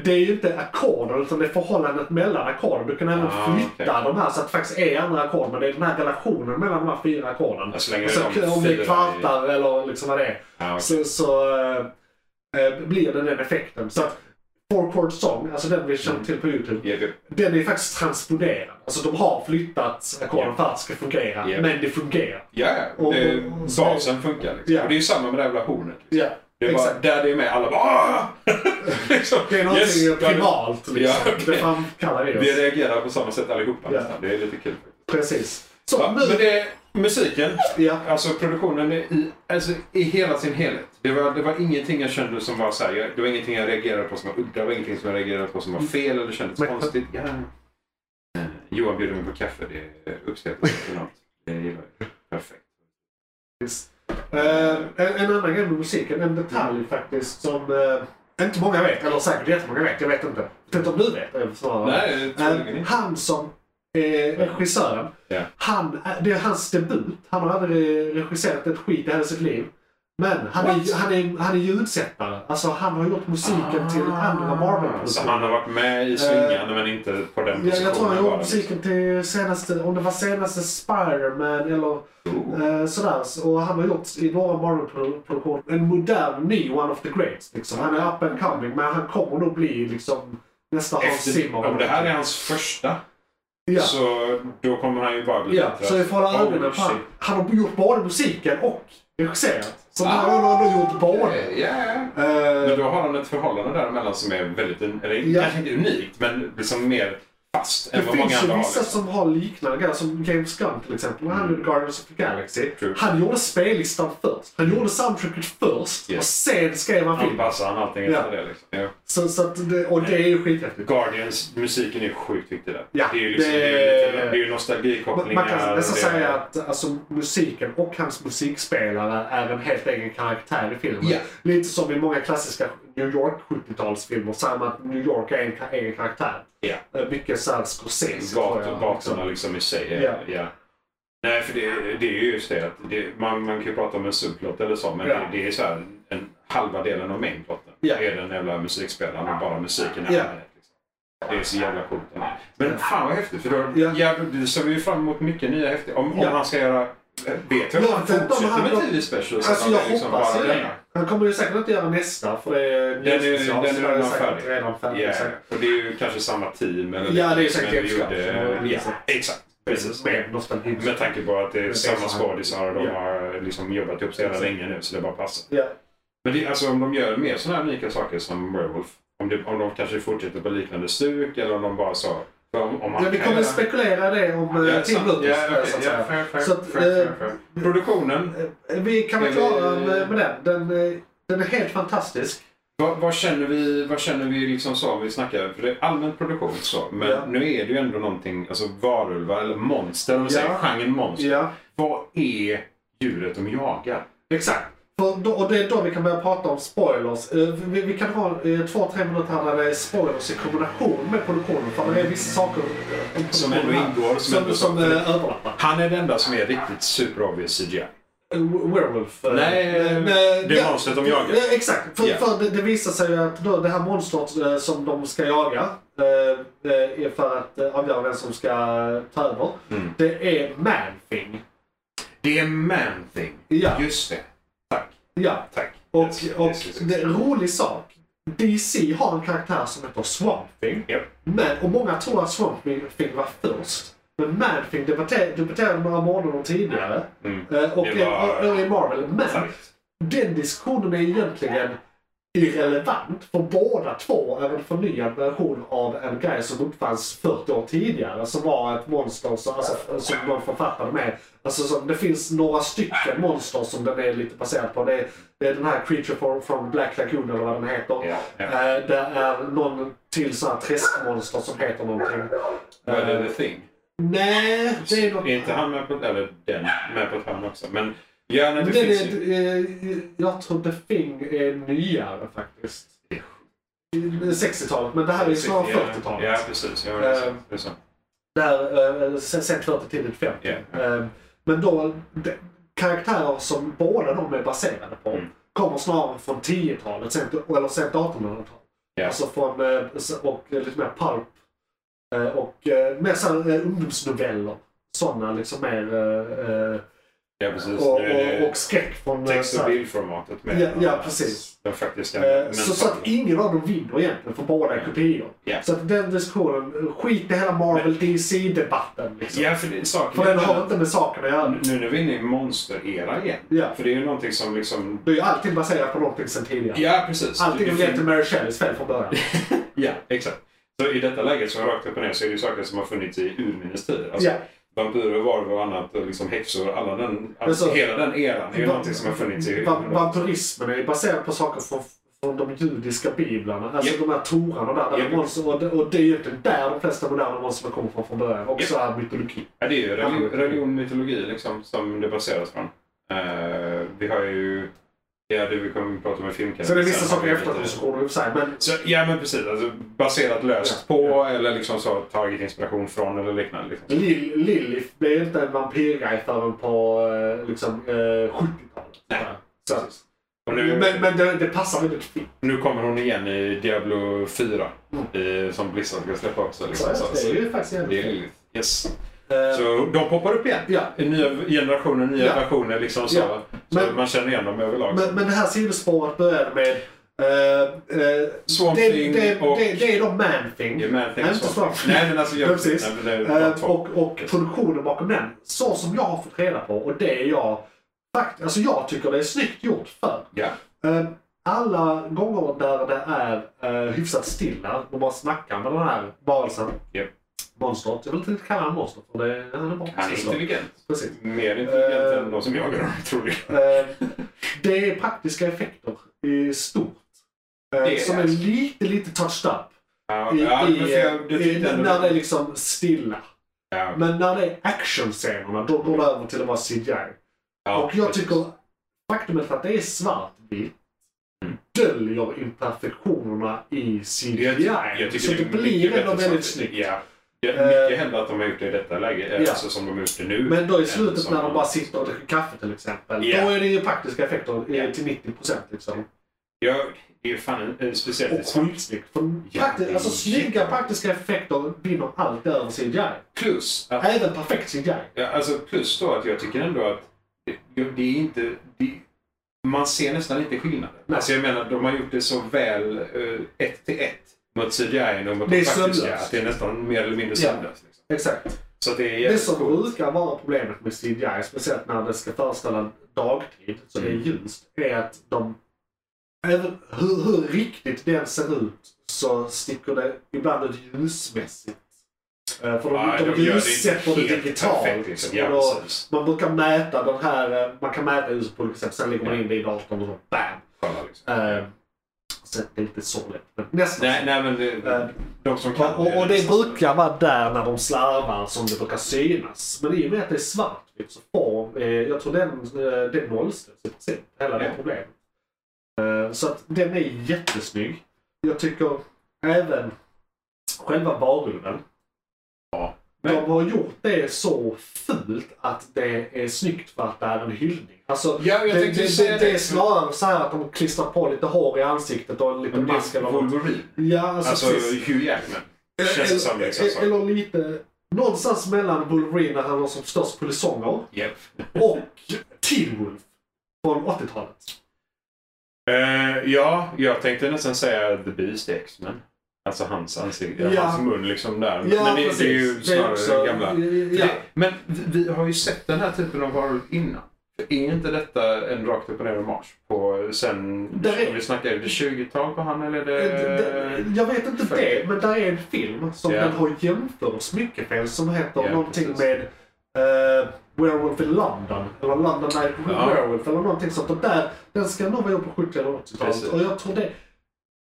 S1: det är ju inte ackorden utan det är förhållandet mellan ackorden. Du kan även
S3: Ah,
S1: flytta de här så att det faktiskt är andra ackord. Men det är den här relationen mellan de här fyra ackorden.
S3: Jag slänger
S1: Alltså,
S3: de
S1: om det
S3: fyra
S1: är
S3: i-
S1: kvartar eller liksom vad det är.
S3: Ja, okej.
S1: Så, så eh, eh, blir det den effekten. Så att Four Chord Song, alltså den vi känner till på YouTube.
S3: Mm. Ja, det-
S1: Den är faktiskt transponerad. Alltså de har flyttat ackorden
S3: Ja.
S1: för att det ska fungera.
S3: Ja.
S1: Men det fungerar.
S3: Ja, ja.
S1: Och-
S3: Det-
S1: och- och-
S3: Basen funkar. Liksom.
S1: Ja.
S3: Och det är ju samma med det jävla hornet. Liksom.
S1: Ja,
S3: Det är bara,
S1: exakt.
S3: där det är med, alla bara "Ah!" liksom,
S1: Det är någonting
S3: yes, ja, det-
S1: primalt liksom.
S3: Ja, okej.
S1: Det framkallar i oss.
S3: Vi reagerar på samma sätt allihopa
S1: Ja.
S3: nästan. Det är lite kul.
S1: Precis. Så
S3: Ja,
S1: nu...
S3: men det är musiken,
S1: Ja.
S3: alltså produktionen är i, alltså, i hela sin helhet. Det var, det var ingenting jag kände som var så här, jag, det var ingenting jag reagerade på som var udda, det var ingenting som jag reagerade på som var fel eller kändes
S1: Mm. Men-
S3: konstigt. Ja. Eh, Johan bjuder mig på kaffe, det uppskattas enormt. Det gillar jag. Perfekt.
S1: Eh, en, en annan grej med musiken, en detalj faktiskt som eh, inte många vet, eller säkert jättemånga vet, jag vet inte. Jag vet inte om du vet eh, snarare.
S3: Nej, det tror jag
S1: Eh,
S3: inte.
S1: han som är regissören,
S3: Ja.
S1: han, är- det är hans debut. Han har aldrig regisserat ett skit i hela sitt liv. Men han är, han, är, han är ljudsättare. Alltså han har gjort musiken
S3: Ah.
S1: till andra
S3: Så
S1: Marvel-produktioner.
S3: han har varit med i svingarna men inte på den
S1: Jag,
S3: positionen.
S1: jag tror han gjorde
S3: bara, liksom.
S1: musiken till senaste, om det var senaste Spiderman eller eh, sådär. Så- Och han har gjort i några Marvel-produktioner en modern ny One of the Greats. Liksom. Han är up and coming men han kommer nog bli liksom nästa Hans
S3: Efter,
S1: Zimmer.
S3: om det här är hans första
S1: ja.
S3: så då kommer han ju bara bli
S1: Ja,
S3: bättre.
S1: så vi får hålla
S3: Holy
S1: ögonen på han.
S3: Oh, shit.
S1: Han har gjort både musiken och regisserat. Så
S3: Ah,
S1: han har ändå gjort både.
S3: Ja, ja.
S1: Eh,
S3: Men då har han ett förhållande däremellan som är väldigt, un- eller
S1: Ja.
S3: kanske inte unikt, men liksom mer fast
S1: det
S3: än vad många
S1: finns ju
S3: andra har. liksom.
S1: vissa som har liknande grejer, som James Gunn till exempel. Han gjorde Guardians of the Galaxy.
S3: True.
S1: Han gjorde spellistan först. Han gjorde soundtracket först
S3: Yes.
S1: och sen skrev han film.
S3: Anpassar han allting
S1: Ja.
S3: efter det liksom. Ja.
S1: Så, så att det, och det är ju skithäftigt.
S3: Guardians, musiken är sjukt viktig där.
S1: Ja,
S3: det är ju liksom,
S1: det-
S3: det... är ju lite- det är ju
S1: Man
S3: nostalgikopplingar.
S1: man kan nästan
S3: det-
S1: säga att alltså, musiken och hans musikspelare är en helt egen karaktär i filmen.
S3: Ja.
S1: Lite som i många klassiska New York 70-talsfilmer, samma att New York är en ka- egen karaktär.
S3: Ja.
S1: Eh, Mycket såhär Scorsese. tror
S3: Gator,
S1: jag,
S3: gatorna liksom i sig. är-
S1: Ja.
S3: Ja. Nej, för det, det är ju just det att det, man, man kan ju prata om en subplot eller så, men
S1: Ja.
S3: det, det är så här, en halva delen av mainplotten.
S1: Ja.
S3: är den jävla musikspelaren och bara musiken.
S1: Ja.
S3: Här, liksom. Det är så jävla coolt. Men fan vad häftigt, för då
S1: Ja.
S3: jävla, ser vi ju fram emot mycket nya häftiga. Om,
S1: Ja.
S3: om han ska göra... eh, Vet jag
S1: Ja,
S3: om han
S1: för att de
S3: fortsätter
S1: hade-
S3: med TV Specials?
S1: Alltså
S3: eller
S1: jag
S3: om det liksom
S1: hoppas ju
S3: bara
S1: det.
S3: denna?
S1: Han kommer ju säkert inte göra nästa för det är en
S3: Den är-
S1: julspecial,
S3: den
S1: så
S3: är
S1: det är
S3: redan
S1: säkert
S3: färdig.
S1: redan färdig.
S3: Ja,
S1: säkert.
S3: och det är ju kanske samma team. Eller
S1: Ja, det är säkert
S3: men vi
S1: James Gunn som har
S3: gjorde, ja,
S1: regisserat.
S3: Exakt, precis.
S1: Med nostalgi.
S3: Med tanke på att det är
S1: Med
S3: samma
S1: tanke på-
S3: skådisar och de
S1: Ja.
S3: har liksom jobbat ihop så jävla
S1: Exakt.
S3: länge nu så det bara passar.
S1: Ja.
S3: Men det, alltså, om de gör mer sådana här unika saker som Werewolf, om, det, om de kanske fortsätter på liknande stuk eller om de bara så... för Om, om man
S1: Ja, vi
S3: kan
S1: kommer
S3: göra-
S1: spekulera det om
S3: Ja,
S1: eh, Tim
S3: sant.
S1: Burton.
S3: Ja, okej.
S1: så att
S3: Ja,
S1: säga.
S3: fair, fair,
S1: Så att,
S3: fair, fair,
S1: eh,
S3: fair. Produktionen,
S1: Eh, Vi kan vara
S3: Ska vi-
S1: klara med, med den. Den, eh, den är helt fantastisk.
S3: vad, vad känner vi, vad känner vi liksom så om vi snackar, för det är allmän produktion så, men
S1: Ja.
S3: nu är det ju ändå någonting, alltså varulvar eller monster, om vi
S1: Ja.
S3: säger genren monster.
S1: Ja,
S3: Vad är djuret de jagar?
S1: exakt. För då, och det är då vi kan börja prata om spoilers. Eh, Vi, vi kan ha eh, två, tre minuter här där det är spoilers i kombination med produktionen. För det är vissa saker om
S3: Som
S1: produktionen
S3: ändå
S1: här
S3: ingår, som
S1: som,
S3: ändå-
S1: som eh, överlappar.
S3: Han är den enda som är riktigt super obvious CGI.
S1: Eh, Werewolf. eh,
S3: Nej,
S1: men-
S3: det är
S1: ja,
S3: monstret de jagar.
S1: ja, Exakt. För,
S3: Ja.
S1: för det, det visar sig att då, det här monstret eh, som de ska jaga eh, eh, är för att eh, avgöra vem som ska ta över.
S3: Mm.
S1: Det är Manfing.
S3: Det är Man-Thing.
S1: Ja.
S3: Just det. Tack.
S1: Ja.
S3: Tack.
S1: Och,
S3: Yes, yes,
S1: och
S3: yes, yes.
S1: det är en rolig sak. DC har en karaktär som heter Swamp Thing.
S3: Japp.
S1: Men, och många tror att Swamp Thing var först. Men Manfing debuterade, debuterade några månader tidigare.
S3: Mm.
S1: Eh, Och
S3: Det var-
S1: är- är i Marvel. Men
S3: Starkt.
S1: den diskussionen är egentligen irrelevant. För båda två är en förnyad version av en grej som uppfanns 40 år tidigare. Som var ett monster som, alltså, som de författade med. Alltså, som, det finns några stycken monster som den är lite baserad på. Det är, det är den här Creature from, from Black Lagoon eller vad den heter.
S3: Ja, ja.
S1: Eh, det är någon till sån här träskmonster som heter någonting.
S3: Vad är det The Thing?
S1: Nej, det är något...
S3: Är inte han med på ett, eller den, med på ett hörn också? Men ja, nej,
S1: Men
S3: det
S1: den
S3: finns ju.
S1: är, eh, jag tror The Thing är nyare faktiskt. 60-talet, men det här är ju snarare
S3: Ja,
S1: 40-talet.
S3: Ja, precis. Ja, det är
S1: Eh,
S3: så. Det är så.
S1: Där, eh, sen sen 40 till 50.
S3: Ja,
S1: Eh, men då, de, karaktärer som båda de är baserade på
S3: Mm.
S1: kommer snarare från 10-talet, sent, eller sent 1800-tal.
S3: Ja.
S1: Alltså från, eh, s- och eh, lite mer pulp. Eh, och eh, mer såhär eh, ungdomsnoveller. Sådana liksom mer... eh, eh,
S3: Ja, precis.
S1: och,
S3: Nu är
S1: och,
S3: det
S1: och skräck från... eh,
S3: text
S1: så
S3: och
S1: här-
S3: bildformatet med.
S1: Ja, ja, precis.
S3: Den faktiska.
S1: Eh,
S3: men-
S1: Så, så att ingen av dem vinner egentligen, för båda är kopior.
S3: Ja.
S1: Så att den diskussionen, skit i hela Marvel DC-debatten. Liksom.
S3: Ja, Mm. för det, saken
S1: För den har
S3: är
S1: inte med saken att göra.
S3: Nu när vi är inne i monster-era igen.
S1: Ja.
S3: För det är ju någonting som liksom...
S1: Det är ju allting baserat på någonting sen tidigare.
S3: Ja, precis.
S1: Allting
S3: Det-
S1: är
S3: det
S1: lett
S3: finns-
S1: till Mary Shelleys fel från början.
S3: Ja, exakt. Så i detta läget som rakt upp och ner så är det ju saker som har funnits i urminnes tid. Alltså,
S1: Ja.
S3: Vampyrer, varulvar och annat och liksom häxor. Alla den, all,
S1: Men så-
S3: hela den eran är ju
S1: Va-
S3: någonting som har funnits i
S1: Va- Vampyrismen är ju baserad på saker från, från de judiska biblarna. Alltså
S3: Japp.
S1: de här torarna där. där
S3: Japp.
S1: monster, och, det, och det är ju inte där de flesta moderna monster kommer från från början. Och
S3: Japp.
S1: så här mytologi.
S3: Ja, det är ju religion, religion mytologi liksom, som det baseras från. Eh, vi har ju... Ja, det, vi kommer att prata om en filmkanal.
S1: Så det är vissa
S3: Sen har
S1: saker
S3: vi
S1: i
S3: lite-
S1: efterhand som går i och för sig. Men
S3: Så, ja, men precis. Alltså, baserat löst på eller liksom så tagit inspiration från eller liknande. Liksom.
S1: Lil, Lilith blev ju inte en vampyrguide förrän på eh, liksom, eh, 70-talet.
S3: Nej,
S1: Så,
S3: precis. Och nu,
S1: men men det, det passar väldigt fint.
S3: nu kommer hon igen i Diablo 4
S1: Mm.
S3: i, som Blizzard ska släppa också.
S1: Så,
S3: Liksom, så,
S1: det är ju faktiskt
S3: det är
S1: jävligt
S3: Lilith. Yes.
S1: Eh,
S3: Så de poppar upp igen.
S1: Ja,
S3: I Nya generationer, nya
S1: Ja.
S3: versioner. Liksom, så
S1: Ja.
S3: så
S1: Men-
S3: man känner igen dem överlag.
S1: men, men det här sidospåret började med eh, eh,
S3: Swamp
S1: det,
S3: Thing
S1: det,
S3: och...
S1: det, det är då Man-Thing.
S3: Ja, men,
S1: Nej, inte Swamp Thing.
S3: Nej, men alltså... Jag,
S1: Ja, precis.
S3: Nej, men det är bara
S1: Eh,
S3: två.
S1: och, och produktionen bakom den. Så som jag har fått reda på och det är jag fakt alltså jag tycker det är snyggt gjort för.
S3: Ja.
S1: Eh, alla gånger där det är eh, hyfsat stilla, de bara snackar med den här varelsen.
S3: Japp.
S1: Monstret. Jag vill inte kalla honom monster för det, han är bara
S3: Han är
S1: precis så.
S3: intelligent.
S1: Precis.
S3: Mer intelligent
S1: Eh,
S3: än de som jagar honom, tror jag.
S1: Eh, det är praktiska effekter i stort. Eh,
S3: Det är
S1: som
S3: det.
S1: är lite, lite touched up.
S3: Ja,
S1: I,
S3: ja, men
S1: i,
S3: för jag- det
S1: i,
S3: tyckte jag ändå-
S1: när det är liksom stilla.
S3: Ja,
S1: Men när det är actionscenerna, då går det över till att vara CGI.
S3: ja,
S1: och jag
S3: precis.
S1: tycker faktumet att det är svartvitt
S3: Mm.
S1: döljer imperfektionerna i CGI.
S3: Jag, jag tycker
S1: så det,
S3: är mycket
S1: blir ändå
S3: bättre
S1: väldigt
S3: sak.
S1: snyggt.
S3: Ja. Ja, mycket
S1: Eh,
S3: hellre att de har gjort det i detta läge, eh,
S1: ja.
S3: alltså som de har gjort det nu.
S1: Men då i
S3: än
S1: slutet
S3: som
S1: när de bara sitter och dricker kaffe till exempel.
S3: Ja.
S1: Då är det ju praktiska effekter eh, till 90% liksom.
S3: Ja, det är ju fan en, en speciell...
S1: Och skitsnyggt. För
S3: Ja, det
S1: prakti-
S3: är
S1: alltså snygga
S3: jättebra.
S1: praktiska effekter vinner allt över CGI.
S3: Plus att
S1: Även perfekt CGI.
S3: Ja, alltså plus då att jag tycker ändå att det, det är inte... Det, man ser nästan inte skillnaden.
S1: Nej.
S3: Alltså jag menar, de har gjort det så väl eh, ett till ett mot CGI och mot
S1: Det är
S3: de faktiska.
S1: sömlöst.
S3: Att det är nästan mer eller mindre
S1: Ja.
S3: sömlöst. Liksom.
S1: Exakt.
S3: Så att det är
S1: Det
S3: jävligt
S1: som
S3: coolt.
S1: brukar vara problemet med CGI, speciellt när det ska föreställa dagtid, så det är
S3: Mm.
S1: ljust, är att de... Även hur, hur riktigt den ser ut så sticker det ibland ut ljusmässigt. Eh, För de,
S3: Ja,
S1: de,
S3: gör det
S1: ljussätter det
S3: helt
S1: digitalt.
S3: perfekt, Liksom. Ja,
S1: och då,
S3: precis.
S1: man brukar mäta den här, eh, man kan mäta ljuset på olika sätt, sen lägger man
S3: Ja.
S1: in det i datorn och så BAM!
S3: Kolla, liksom.
S1: Eh, Så det är inte så lätt, men nästan.
S3: Nej, nej, men
S1: Eh,
S3: det, de som kan
S1: Och, och det
S3: liksom-
S1: brukar vara där när de slarvar som det brukar synas. Men i och med att det är svartvitt så får, eh, jag tror den, eh, den nollställs i princip. Hela det
S3: Ja.
S1: problemet. Eh, så att den är jättesnygg. Jag tycker även själva varulven.
S3: Ja.
S1: De har gjort det så fult att det är snyggt för att det är en hyllning. Alltså,
S3: Ja, jag
S1: det,
S3: tänkte
S1: det,
S3: säga
S1: det,
S3: det.
S1: är snarare så här att de klistrar på lite hår i ansiktet och lite
S3: Men det
S1: mask
S3: är
S1: eller något.
S3: Wolverine.
S1: Ja, alltså,
S3: Alltså
S1: precis.
S3: Hugh Jackman. Känns det som liksom så.
S1: eller, eller lite... Någonstans mellan Wolverine när han har som störst polisonger
S3: Yep.
S1: och Teen Wolf från 80-talet.
S3: Eh, ja, jag tänkte nästan säga The Beast i X-Men. Alltså hans ansikte,
S1: Ja.
S3: hans mun liksom där. men det, det är ju snarare gamla.
S1: Ja,
S3: Det, men vi, vi har ju sett den här typen av varor innan. Är inte detta en rakt upp och ner hommage på sen,
S1: Där är-
S3: om vi snackar, är det 20-tal på han eller är
S1: Eh, d- d-
S3: det...
S1: jag vet inte
S3: för-
S1: det, men där är en film som
S3: Ja.
S1: den har jämförts mycket med som heter
S3: Ja,
S1: någonting
S3: precis.
S1: med eh, Werewolf in London. Eller London Night
S3: Ja.
S1: Werewolf eller någonting sånt. Och där, den ska nog vara gjord på 70 eller 80-talet.
S3: Precis.
S1: Och jag tror det...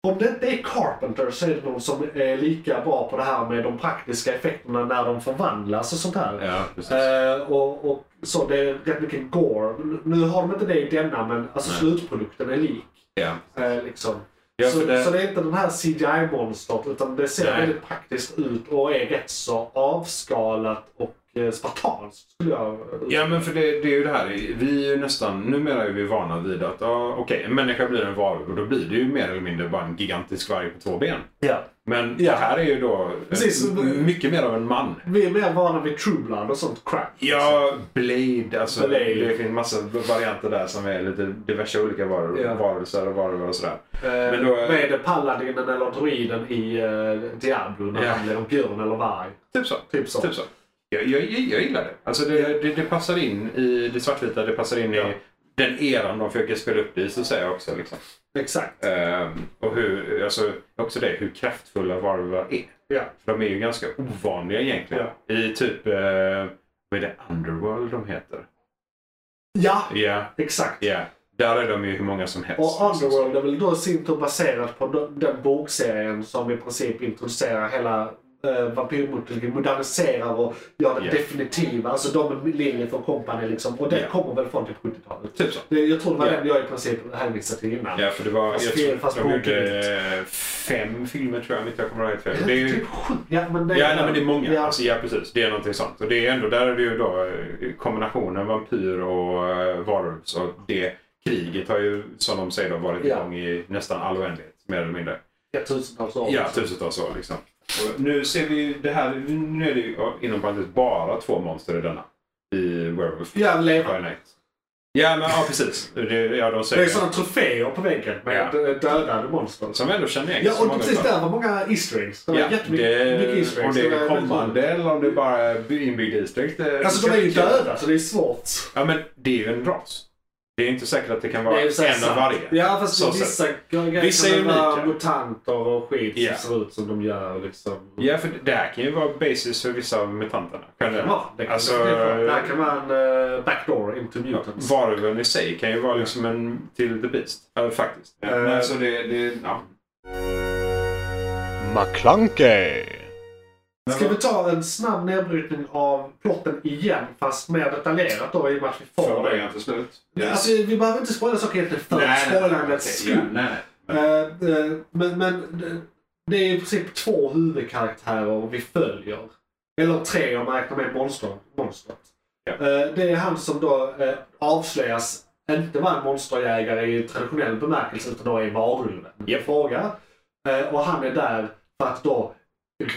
S1: Om det inte är Carpenter så är det någon som är lika bra på det här med de praktiska effekterna när de förvandlas och sånt här.
S3: Ja, precis.
S1: Eh, och, och så det är rätt mycket gore. Nu- Nu har de inte det i denna men alltså
S3: Nej.
S1: slutprodukten är lik.
S3: ja.
S1: Eh, liksom.
S3: Ja,
S1: så,
S3: för det-
S1: så det är inte den här CGI-monstret utan det ser
S3: Nej.
S1: väldigt praktiskt ut och är rätt så avskalat och eh, spartanskt skulle jag...
S3: Ja men för det, det är ju det här, vi är ju nästan, numera är vi vana vid att ah, okej, en människa blir en varulv och då blir det ju mer eller mindre bara en gigantisk varg på två ben.
S1: Ja.
S3: Men
S1: Ja.
S3: det här är ju då eh,
S1: Precis.
S3: m- mycket mer av en man.
S1: Vi är mer vana vid True Blood och sånt crap.
S3: Ja, Blade, alltså
S1: Blade.
S3: det finns massa varianter där som är lite diverse olika varul-
S1: Ja.
S3: varelser och varulvar och sådär.
S1: Eh,
S3: men då-
S1: Vad är det paladinen eller druiden i eh, Diablo när
S3: Ja.
S1: han blir en björn eller varg?
S3: Typ så.
S1: Typ så.
S3: Typ så. Jag, jag, jag jag gillar det. Alltså det, det, det passar in i det svartvita, det passar in
S1: Ja.
S3: i den eran de försöker spela upp det i, så säger jag också. Liksom.
S1: Exakt.
S3: Ehm, och hur, alltså, också det, hur kraftfulla varulvar är.
S1: Ja.
S3: För de är ju ganska ovanliga egentligen. I typ, eh, vad är det, Underworld de heter?
S1: Ja,
S3: Ja,
S1: exakt.
S3: ja. Där är de ju hur många som helst.
S1: Och Underworld är väl då i sin tur baserat på de- den bokserien som i princip introducerar hela eh, vampyrmotorcykeln moderniserar och gör den
S3: Ja.
S1: definitiva. Alltså de linjer från Company liksom. Och det
S3: Ja.
S1: kommer väl från typ 70-talet.
S3: Typ så.
S1: Det- Jag tror det var
S3: Ja.
S1: den jag i princip hänvisade till innan.
S3: Ja, för det var...
S1: Fast
S3: Jag
S1: fel,
S3: tror,
S1: fast
S3: de
S1: bokigt.
S3: gjorde eh, fem filmer tror jag, om inte jag kommer ihåg helt fel. Det är ju
S1: Typ sju- ja, men det,
S3: Ja, nej, men det är många.
S1: Ja.
S3: Alltså, ja, precis. Det är någonting sånt. Och det är ändå, där är det ju då eh, kombinationen vampyr och eh, varulvs. Och det kriget har ju, som de säger, då, varit
S1: Ja.
S3: igång i nästan all oändlighet. Mer eller mindre.
S1: Ja, tusentals år.
S3: Ja, tusentals år liksom. Och nu ser vi ju det här, nu är det ju ja, inom parentes bara två monster i denna. I Werewolf.
S1: Ja, leva.
S3: Fire Night. Ja, men ja, precis. Det, ja, de
S1: Det
S3: säger
S1: är sådana troféer på väggen med
S3: Ja.
S1: dödade monster.
S3: Som vi ändå känner igen.
S1: Ja,
S3: så
S1: och
S3: många
S1: precis
S3: av.
S1: där var många Easter eggs. Det var
S3: Ja,
S1: jättemycket mycket
S3: det,
S1: Easter
S3: om
S1: eggs.
S3: det
S1: var
S3: är
S1: väldigt roligt.
S3: kommande eller om det bara är inbyggd Easter egg, det-
S1: Alltså
S3: det
S1: de är ju
S3: ska-
S1: döda så det är svårt.
S3: Ja, men det är ju en ras. Det är inte säkert att det kan vara
S1: Det är ju så här
S3: en av
S1: sant.
S3: varje.
S1: Ja fast
S3: Så
S1: vissa grejer
S3: Vissa är
S1: kan vara
S3: unika.
S1: mutanter och skit
S3: Ja.
S1: som ser ut som de gör liksom.
S3: Ja, för det här kan ju vara basis för vissa av mutanterna. Generellt.
S1: Ja, det kan
S3: Alltså,
S1: det kan- det här kan vara en eh, backdoor into mutants.
S3: Varulven i sig kan ju vara liksom en till the beast. Ja, faktiskt. Ja,
S1: Eh.
S3: nej, så det, det, ja.
S4: McClunkey.
S1: Ska vi ta en snabb nedbrytning av plotten igen fast mer detaljerat då i och med att vi får det.
S3: till slut.
S1: Alltså, vi behöver inte spoila saker egentligen för spoilandets skull.
S3: nej, nej.
S1: Eh, eh, men, men det- det är i princip två huvudkaraktärer vi följer. Eller tre om man räknar med monster, monstret.
S3: Ja.
S1: Eh, det är han som då eh, avslöjas inte vara en monsterjägare i traditionell bemärkelse utan då är varulven
S3: Ja.
S1: i fråga. Eh, och han är där för att då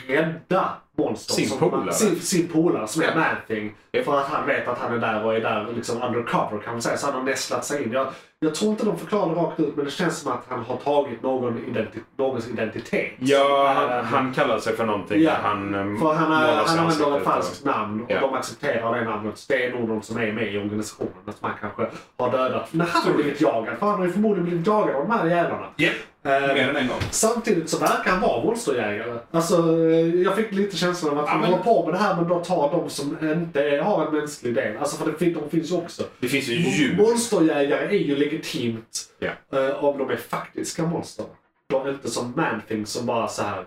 S1: rädda monster.
S3: Sin
S1: som-
S3: polare.
S1: Sin, sin polare som är Manthing. För att han vet att han är där och är där liksom undercover kan man säga. Så han har nästlat sig in. Jag, jag tror inte de förklarar rakt ut men det känns som att han har tagit någon identi- någons identitet.
S3: Ja, han,
S1: Eh,
S3: han kallar sig för någonting.
S1: Ja,
S3: Han, eh,
S1: för han,
S3: målar
S1: han
S3: sig ansiktet
S1: använder
S3: och-
S1: ett falskt namn och
S3: Ja.
S1: de accepterar det namnet. Så Det är nog de som är med i organisationen. Att man kanske har dödat. Men han har blivit jagad. För han har ju förmodligen blivit jagad av de här jävlarna.
S3: Ja,
S1: Eh,
S3: mer än en gång.
S1: Samtidigt så verkar han vara monsterjägare. Alltså, eh, jag fick lite känslan av att
S3: Ja,
S1: han
S3: men-
S1: håller på med det här men då tar de som inte är- har en mänsklig del. Alltså för det, fin- de finns ju också.
S3: Det finns ju djur.
S1: Monsterjägare är ju legitimt
S3: Ja.
S1: eh, om de är faktiska monster. De är inte som Manthing som bara så här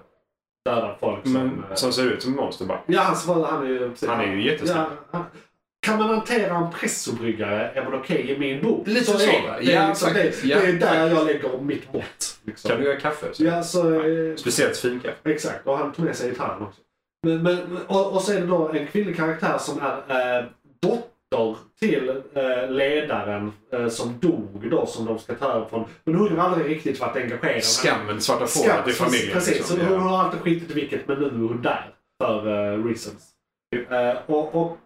S1: dödar folk.
S3: Men,
S1: som, eh,
S3: som ser ut som monster bara.
S1: Ja, han, som- han är ju...
S3: Han är ju jättesnabb.
S1: Ja, han- kan man hantera en pressobryggare är väl okej i min bok.
S3: Lite så,
S1: är det.
S3: va?
S1: Det är,
S3: Ja,
S1: liksom det,
S3: faktiskt.
S1: det
S3: Ja,
S1: är där jag lägger mitt mått. Liksom.
S3: Kan du göra kaffe? Så?
S1: Ja, så, eh,
S3: Speciellt finkaffe.
S1: Exakt, och han tog med sig gitarren också. Men, men, och, och så är det då en kvinnlig karaktär som är eh, dotter till eh, ledaren eh, som dog då som de ska ta över från. Men hon har aldrig riktigt varit engagerad.
S3: Skammen, svarta
S1: Skam,
S3: fåret i familjen.
S1: Precis,
S3: liksom.
S1: så
S3: Ja.
S1: hon har alltid skitit i vilket men nu är hon där. För eh, reasons. Eh, och och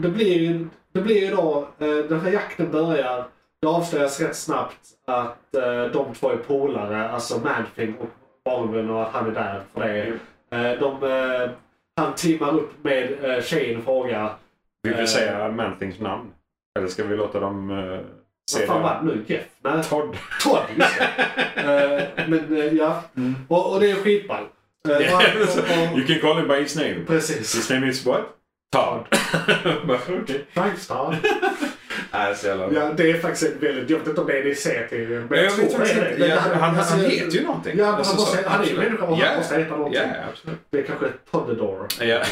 S1: det, blir ju, det blir ju då, eh, den här jakten börjar. Det avslöjas rätt snabbt att eh, de två är polare, alltså Manfing och Barven och att han är där för det. Eh, de, eh, han teamar upp med eh, tjejen i fråga.
S3: Vill vi
S1: Eh.
S3: säga Manthings namn? Eller ska vi låta dem eh, se
S1: Vad fan var
S3: det?
S1: det nu? Jeff? Nej,
S3: Todd.
S1: Todd! just det. eh, men eh, ja,
S3: Mm.
S1: och, och det är skitball. Eh, och han- och- och-
S3: you can call him by his name.
S1: Precis.
S3: His name is what? Todd. Bara, Okej.
S1: Frankstar.
S3: Nej, så jävla bra.
S1: Ja, det är faktiskt ett väldigt... Jag vet inte om det är det ser till... Men
S3: Men jag vet
S1: tror det
S3: faktiskt
S1: är
S3: inte.
S1: det.
S3: Ja,
S1: Men
S3: han, han,
S1: alltså,
S3: han heter ju någonting.
S1: Ja, men han,
S3: Alltså,
S1: måste,
S3: så.
S1: han är ju människa och
S3: Ja,
S1: han måste heta någonting.
S3: Ja, absolut.
S1: Det är kanske ett Poddador.
S3: Ja.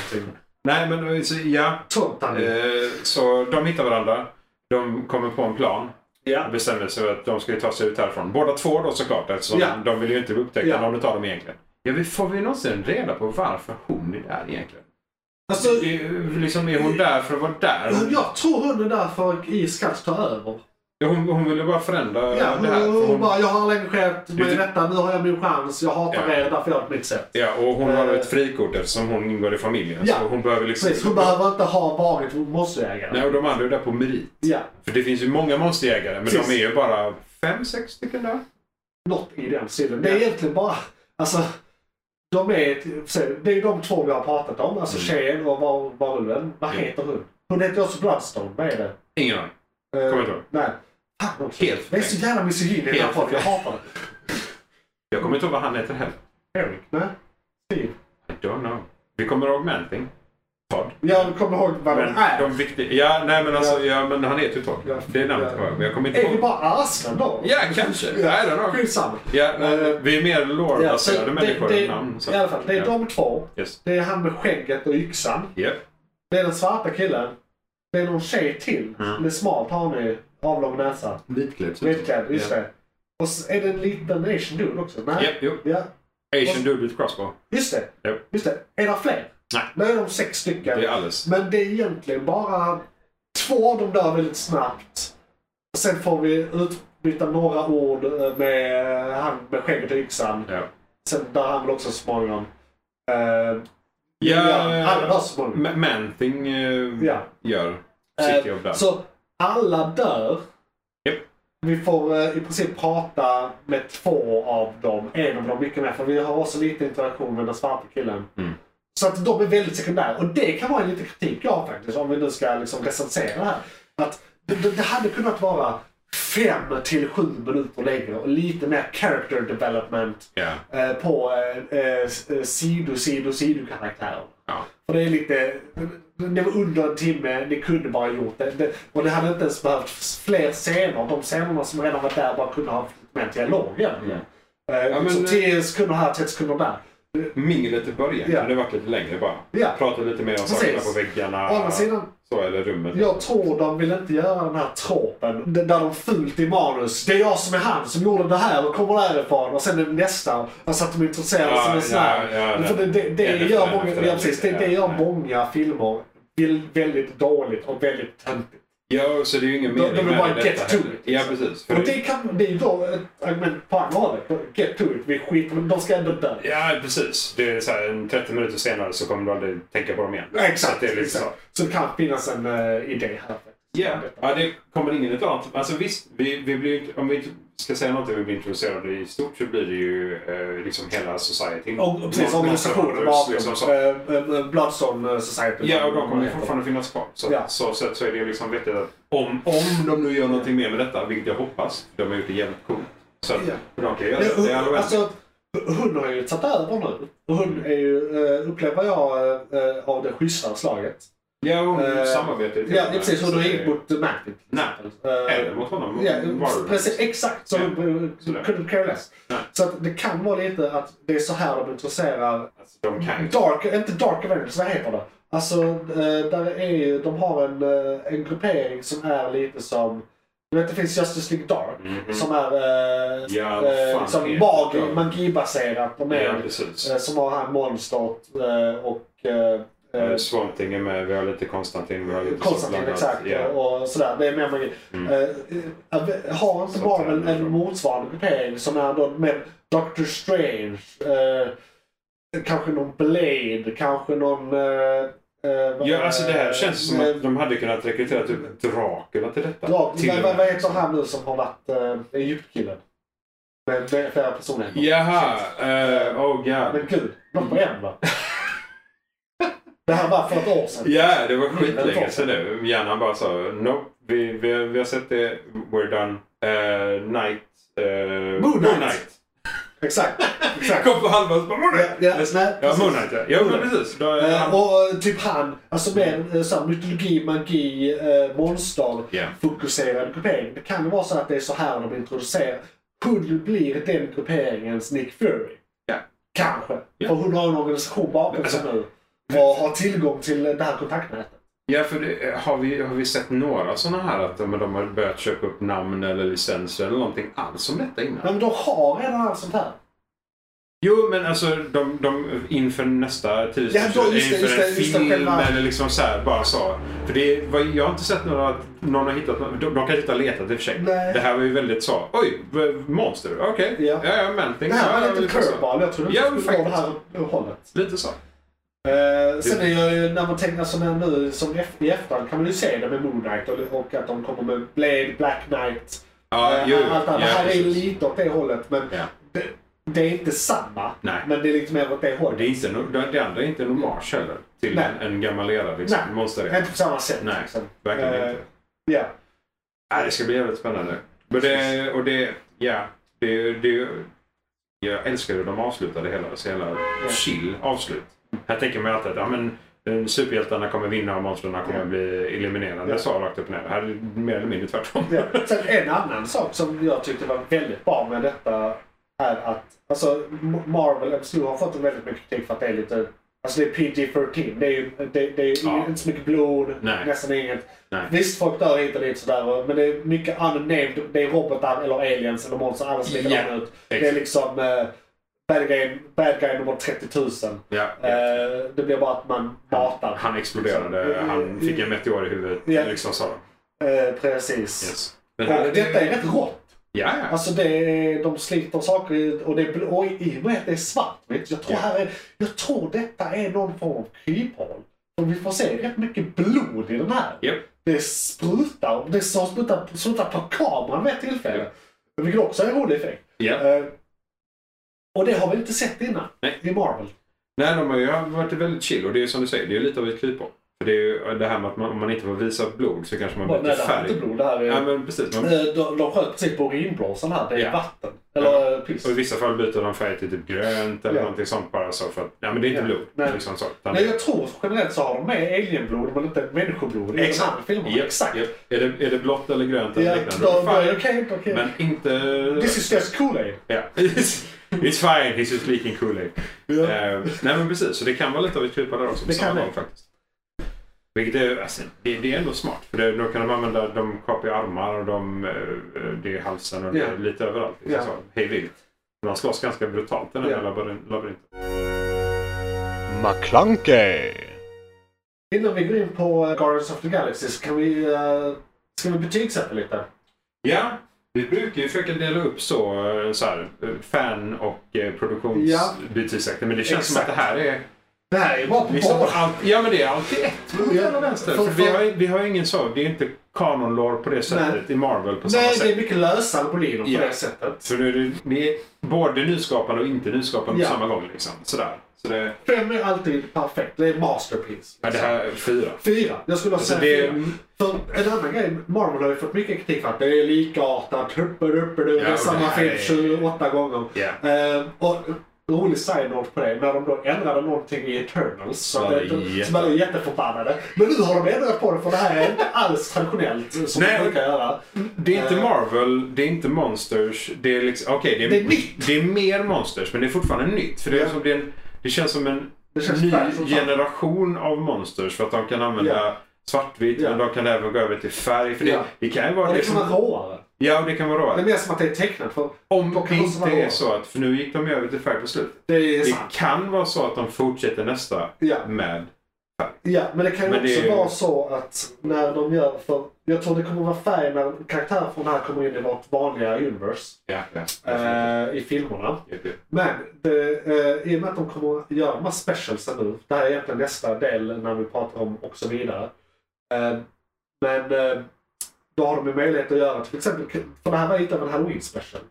S3: Nej, men eh, så, ja.
S1: Tontan.
S3: Eh, Så de hittar varandra. De kommer på en plan.
S1: Ja.
S3: bestämde sig för att de skulle ta sig ut härifrån. Båda två då såklart eftersom
S1: Ja.
S3: de vill ju inte bli upptäckta
S1: Ja.
S3: om de tar dem egentligen. Ja, vi får vi någonsin reda på varför hon är där egentligen?
S1: Alltså,
S3: Är- Liksom är hon där för att vara där? Hon,
S1: jag tror hon är där för att IS ska ta över.
S3: hon, hon ville bara
S1: Ja,
S3: förändra det här.
S1: hon,
S3: För
S1: hon
S3: hon,
S1: bara, jag har engagerat mig i
S3: Det-
S1: detta, nu har jag min chans, jag hatar
S3: Ja.
S1: er, därför gör jag på mitt sätt.
S3: ja, och hon har
S1: Eh.
S3: ett frikort eftersom hon ingår i familjen.
S1: Ja.
S3: Så hon behöver liksom...
S1: Precis, hon behöver inte ha varit monsterjägare.
S3: Nej, och de andra är där på merit.
S1: Ja,
S3: För det finns ju många monsterjägare, men
S1: Precis.
S3: de är ju bara fem, sex stycken där.
S1: något i den stilen. Det är egentligen bara, alltså, de är, det är ju de två vi har pratat om, alltså
S3: Mm.
S1: tjejen och var- varulven. Vad
S3: Ja.
S1: heter hon? Hon heter också Bloodstone, vad är det?
S3: Ingen aning.
S1: Eh,
S3: Kommer inte ihåg.
S1: Nej. Fan också.
S3: Helt
S1: Det är så jävla misogyn i den här
S3: Helt
S1: podden, jag hatar det.
S3: Jag kommer inte ihåg vad han heter heller.
S1: Eric? Nej. Steve?
S3: I don't know. Vi kommer ihåg Manting. Todd.
S1: Ja, du kommer ihåg vad den
S3: Men
S1: är.
S3: de viktiga... Ja, nej men alltså, ja, men han heter ju Todd.
S1: Ja.
S3: Det är namnet
S1: Ja.
S3: jag har, men jag kommer inte
S1: Är vi
S3: ihåg.
S1: bara arslen då?
S3: Ja, kanske. I don't know.
S1: Skitsamma.
S3: Ja,
S1: Eh,
S3: vi är mer
S1: Ja, så
S3: lore-baserade människor
S1: det,
S3: än namn. Så.
S1: I alla fall, det är
S3: ja.
S1: de två.
S3: Yes.
S1: Det är han med skägget och yxan.
S3: Yep.
S1: Det är den svarta killen. Det är någon tjej till.
S3: Mm.
S1: Med smalt hanig, avlång näsa.
S3: Vitklädd.
S1: Vitklädd, just det. Och så är det en liten asian dude också. Nej.
S3: Yep, jo.
S1: Ja,
S3: Asian dude with crossbow.
S1: just det.
S3: Japp.
S1: Just det. Är det fler?
S3: Nej.
S1: Nu är de sex stycken.
S3: Det är alldeles.
S1: Men det är egentligen bara två av dem dör väldigt snabbt. Sen får vi utbyta några ord eh, med han med skägget och yxan.
S3: Ja.
S1: Sen dör han väl också så småningom. Eh, ja, alla
S3: Ja,
S1: dör så småningom.
S3: Ma- Manting eh,
S1: Ja.
S3: gör sitt jobb
S1: Eh,
S3: där.
S1: så alla dör.
S3: Japp.
S1: Vi får eh, i princip prata med två av dem. En av dem mycket mer. För vi har också lite interaktion med den svarta killen.
S3: Mm.
S1: Så att de är väldigt sekundära. Och det kan vara en liten kritik jag har faktiskt. Om vi nu ska liksom recensera det här. Att det, det, det hade kunnat vara fem till sju minuter längre. Och lite mer character development.
S3: Ja.
S1: Eh, på eh, eh, s- eh, sido, sido, sido-karaktärer.
S3: Ja.
S1: För det är lite... Det var under en timme, ni kunde bara gjort det. det och det hade inte ens behövt fler scener. De scenerna som redan var där bara kunde ha haft mer dialog egentligen. Eh,
S3: Mm. Ja, men-
S1: så 10 sekunder här, 10 sekunder där.
S3: Minglet i början
S1: Ja.
S3: kunde det varit lite längre bara.
S1: Ja.
S3: Prata lite mer om sakerna
S1: Precis.
S3: på väggarna.
S1: Å andra sidan,
S3: Så, eller rummet.
S1: jag tror de vill inte göra den här tropen d- där de fult i manus. Det är jag som är han som gjorde det här och kommer därifrån och sen är det nästa. Alltså att de introducerar
S3: Ja,
S1: som en sån här.
S3: ja, ja,
S1: För det, det, det,
S3: En efter
S1: gör
S3: en
S1: många,
S3: efter en.
S1: ja, precis, det, det gör
S3: Ja, ja.
S1: många filmer vill- väldigt dåligt och väldigt töntigt.
S3: Ja, så det är ju ingen
S1: De- de
S3: mening
S1: vill bara
S3: med detta
S1: get to
S3: heller.
S1: it,
S3: Ja,
S1: liksom.
S3: precis. För
S1: Och
S3: det-
S1: det, kan, det är ju då ett argument på andra hållet. Get to it, vi skiter men de ska ändå dö.
S3: Ja, precis. Det är så här, en 30 minuter senare så kommer du aldrig tänka på dem igen. Så
S1: Exakt,
S3: att det är lite
S1: exakt.
S3: så.
S1: Så det kan finnas en eh, idé här.
S3: Ja, ja, det kommer ingen av annat. Alltså visst, vi, vi blir, ju- om vi ska säga något om vi blir introducerade i stort så blir det ju eh, liksom hela societyn.
S1: Och, och precis,
S3: Någon-
S1: organisationen
S3: någon liksom,
S1: bakom.
S3: så.
S1: eh, eh, Bloodstone Society.
S3: Ja, och de kommer ju fortfarande finnas kvar. Så,
S1: Ja.
S3: så, så, så är det ju liksom vettigt att om, om de nu gör någonting mer med detta, vilket jag hoppas, de har gjort det jävligt coolt. Så att
S1: Ja.
S3: de kan göra
S1: Ja,
S3: det. Det Mm. är alla
S1: hon,
S3: väl.
S1: alltså, hon har ju tagit över nu. Och Hon är ju, eh, upplever jag, eh, av det schysstare slaget.
S3: Ja, och
S1: eh,
S3: samarbete.
S1: Ja, precis. Hon har inget mot Mac.
S3: Nej.
S1: Eh,
S3: Eller mot honom.
S1: Ja,
S3: Var-
S1: precis, exakt. Så
S3: Ja.
S1: ja.
S3: Sådär.
S1: kunde care less.
S3: Ja.
S1: Så att det kan vara lite att det är så här de intresserar
S3: Alltså, de kan ju
S1: Dark, inte Dark Avengers, vad heter det? Alltså, eh, där är ju, de har en, eh, en gruppering som är lite som, du vet det finns Justice League Dark.
S3: Mhm.
S1: Som är eh,
S3: Ja, vad
S1: eh,
S3: fan
S1: liksom
S3: heter
S1: magi,
S3: det?
S1: magibaserat. De
S3: Ja,
S1: är,
S3: precis.
S1: eh, som har här monstert eh, och eh, eh,
S3: Eh, Swamp Thing är med, vi har lite Konstantin, vi har lite så
S1: Konstantin
S3: blandat.
S1: exakt.
S3: Ja.
S1: Och, och sådär. Det är mer magi.
S3: Mm.
S1: Eh, eh, har inte
S3: Så
S1: Marvel
S3: tränar
S1: en
S3: de.
S1: motsvarande gruppering som är då med Doctor Strange, eh, kanske någon Blade, kanske någon... eh, eh, vad-
S3: Ja, alltså det här känns som
S1: eh,
S3: att de hade kunnat rekrytera typ Dracula till detta.
S1: Dra-
S3: till
S1: vad-
S3: och
S1: vad-
S3: med.
S1: vad heter han nu som har varit eh, Egyptkillen? Med med flera personligheter.
S3: Jaha, eh, oh
S1: Men
S3: god.
S1: gud, de på en va? det här var för ett år sedan.
S3: Ja, det var
S1: Mm,
S3: skitlänge
S1: men-
S3: sedan nu. Hjärnan bara sa nope, vi, vi, vi har sett det, we're done. Eh, night. eh,
S1: Moon Knight. Exakt. exakt.
S3: Kom på halva och så bara Moon Knight.
S1: Ja,
S3: Let's-
S1: nej,
S3: Ja,
S1: precis.
S3: Moon Knight ja. Ja,
S1: Moon
S3: men
S1: Knight.
S3: precis. Då,
S1: Eh,
S3: han-
S1: och eh, typ han, alltså med eh, så här, mytologi, magi, eh, monster,
S3: Ja.
S1: fokuserad gruppering. Det kan ju vara så att det är så här de introducerar. Hon blir den grupperingens Nick Fury.
S3: Ja.
S1: Kanske.
S3: Ja. Alltså,
S1: För hon har en organisation bakom sig nu. Och har tillgång till eh, det här kontaktnätet.
S3: Ja, för det, eh, har, vi, har vi sett några sådana här att de, de har börjat köpa upp namn eller licenser eller någonting alls om detta innan?
S1: Nej, Men de har redan allt sånt här.
S3: Jo, men alltså de, de inför nästa
S1: Ja,
S3: tidsstudie,
S1: då, just det,
S3: inför
S1: just det,
S3: en
S1: just det,
S3: film
S1: själva-
S3: eller liksom så här, bara så. För det, var, jag har inte sett några, att någon har hittat, någon- de, de kanske inte har letat i och för sig.
S1: Nej.
S3: Det här var ju väldigt så, oj, v- monster, okej,
S1: Ja.
S3: ja, ja, men.
S1: Det här var
S3: ja,
S1: lite
S3: så.
S1: curveball. Jag trodde inte
S3: Ja,
S1: det skulle gå det här
S3: faktiskt.
S1: hållet.
S3: Lite så.
S1: Eh, sen är jag ju, när man tänker som är nu som eff- i efterhand kan man ju se det med Moon Knight och, och att de kommer med Blade, Black Knight.
S3: Ja,
S1: eh,
S3: jo, jo.
S1: allt annat.
S3: ja,
S1: det här är ju
S3: precis.
S1: lite åt det hållet men
S3: Ja.
S1: det, det är inte samma.
S3: Nej.
S1: Men det är lite mer åt det
S3: Och det,
S1: hållet.
S3: är inte, no- det andra är inte en hommage heller till
S1: Nej.
S3: en, en gammal era, liksom,
S1: Nej.
S3: monsterera.
S1: Inte på samma sätt.
S3: Nej,
S1: liksom.
S3: Verkligen
S1: Eh,
S3: inte.
S1: Ja.
S3: Nej, det ska bli jävligt spännande. Men det, och det, ja, det, det, jag älskar hur de avslutade hela, så hela chill avslut. Här tänker man ju alltid att ja, men eh, superhjältarna kommer vinna och monstren kommer bli eliminerade.
S1: Ja.
S3: Så rakt upp och ner. Här är det mer eller mindre tvärtom.
S1: Ja. Sen en annan sak som jag tyckte var väldigt bra med detta är att alltså, M- Marvel MCU har fått en väldigt mycket kritik för att det är lite Alltså det är PG-13. Det är ju det, det är ju
S3: Ja.
S1: inte så mycket blod,
S3: Nej.
S1: nästan inget.
S3: Nej.
S1: Visst, folk dör hit och dit sådär. och- Men det är mycket unnamed. Det är robotar eller aliens eller monster. Alla ser likadana
S3: Ja,
S1: ut. Det är
S3: Exakt.
S1: liksom eh, bad, guy, bad guy nummer 30 000.
S3: Ja.
S1: Eh, det blir bara att man matar.
S3: Han exploderade.
S1: Liksom.
S3: Han fick en meteor i huvudet.
S1: Ja.
S3: Liksom så.
S1: Eh, precis.
S3: Yes. Men
S1: Och
S3: här,
S1: detta är rätt rått.
S3: ja, ja.
S1: Alltså det är, de sliter saker i- och, det, är bl- och i och med att det är svart. Vet du, jag, tror
S3: Ja.
S1: här är, jag tror detta är någon form av kryphål. För vi får se rätt mycket blod i den här.
S3: Japp.
S1: Det sprutar, det som sprutar, sprutar på kameran vid ett tillfälle. Vilket också är en rolig effekt.
S3: Ja.
S1: Eh, och det har vi inte sett innan
S3: Nej.
S1: i Marvel.
S3: Nej, de har ju varit väldigt chill och det är ju som du säger, det är ju lite av ett kryphål. För det är ju det här med att man, om man inte får visa blod så kanske man
S1: Bara,
S3: blir
S1: nej,
S3: lite
S1: det här är inte
S3: färg.
S1: blod. Det här är,
S3: Ja, men precis. Man,
S1: Eh, de, de sköt precis på urinblåsan här. Det är
S3: Ja.
S1: vatten. Eller eh, piss.
S3: och I vissa fall byter de färg till typ grönt eller
S1: Ja.
S3: någonting sånt bara så för att ja, men det är inte
S1: Ja.
S3: blod.
S1: Nej.
S3: Liksom så, utan,
S1: Nej, jag tror generellt så har de med alienblod men inte människoblod i den här filmen.
S3: Japp,
S1: Exakt.
S3: japp. Är, det, är det blått eller grönt eller
S1: Ja,
S3: liknande?
S1: då- då är det
S3: Fine.
S1: okej. Okay, okay.
S3: Men inte...
S1: This is just eh. Kool-Aid.
S3: Ja. It's fine, he's just leaking Kool-Aid. Eh, nej men precis, så det kan vara lite av ett kryphål där också. på
S1: Det kan
S3: samma
S1: det.
S3: gång faktiskt. Vilket är, alltså, det, det är ändå smart. För det, då kan de använda, de kapar ju armar och de, eh, det är halsen och
S1: Ja.
S3: det är lite överallt. Liksom
S1: Ja.
S3: så, hej vilt. Man slåss ganska brutalt i den
S1: Ja.
S3: här labyrin- labyrinten.
S4: McClunkey.
S1: Innan vi går in på eh, Guardians of the Galaxy så kan vi, eh, ska vi betygsätta lite.
S3: Ja, vi brukar ju försöka dela upp så, eh, så här, eh, fan och eh,
S1: Ja.
S3: produktionsbetygsättning. Men det känns som att
S1: Exakt.
S3: det här är
S1: Det här är ju bara på
S3: Liksom,
S1: båda.
S3: allt- ja men det är alltid ett mot
S1: Ja.
S3: höger och vänster.
S1: För-
S3: För vi,
S1: för-
S3: har, ju- vi har ju ingen så, det är inte kanon på det sättet i Marvel på samma
S1: Nej, det
S3: sätt.
S1: är mycket lösare boliner på
S3: Ja.
S1: det sättet.
S3: Så nu är det, det är både nyskapande och inte nyskapande
S1: Ja.
S3: på samma gång. Liksom. Sådär. Så det,
S1: Fem är alltid perfekt. Det är masterpiece.
S3: ja, det här är fyra.
S1: Fyra. Jag skulle
S3: Alltså,
S1: säga
S3: det
S1: fyra.
S3: är,
S1: För en annan grej, Marvel har ju fått mycket kritik för att det är likartat, uppe, uppe, det
S3: Ja,
S1: är
S3: och det
S1: samma
S3: här
S1: film
S3: är-
S1: 28 gånger.
S3: Ja.
S1: Eh, och rolig side-note på det, när de då ändrade någonting i Eternals så
S3: Ja,
S1: var
S3: det är
S1: jätte...
S3: jätte-
S1: man är jätteförbannade. Men nu har de ändrat på det för det här är inte alls traditionellt som
S3: Nej,
S1: de brukar göra.
S3: det är inte
S1: Eh.
S3: Marvel, det är inte Monsters. Det är, liksom, okej, det,
S1: Det
S3: är,
S1: är nytt.
S3: det är mer Monsters men det är fortfarande nytt. För det, är
S1: Ja.
S3: som, det, är en, det känns som en
S1: Det känns
S3: ny
S1: fräscht som fan.
S3: generation av Monsters för att de kan använda
S1: Ja.
S3: svartvitt
S1: Ja.
S3: men de kan även gå över till färg. För det,
S1: Ja.
S3: det kan ju
S1: Och
S3: vara
S1: det
S3: det
S1: kan
S3: som
S1: vara råare.
S3: Ja, och det kan vara
S1: Det är
S3: råare.
S1: mer som att det är tecknat för
S3: Om
S1: och
S3: det
S1: kan också
S3: inte
S1: vara
S3: är
S1: råare.
S3: så att, för nu gick de ju över till färg på slut.
S1: Det är
S3: Det
S1: sant.
S3: kan vara så att de fortsätter nästa
S1: Ja.
S3: med...
S1: Ja, men det kan ju
S3: Men det
S1: också
S3: är ju-
S1: vara så att när de gör, för jag tror det kommer vara färg när karaktärer från det här kommer in i vårt vanliga universe
S3: Ja, ja.
S1: eh, i filmerna.
S3: Ja, ja.
S1: Men det, eh, i och med att de kommer att göra de här specialsen nu, det här är egentligen nästa del när vi pratar om och så vidare. Eh, men eh, då har de ju möjlighet att göra till exempel, för det här var inte en halloween special.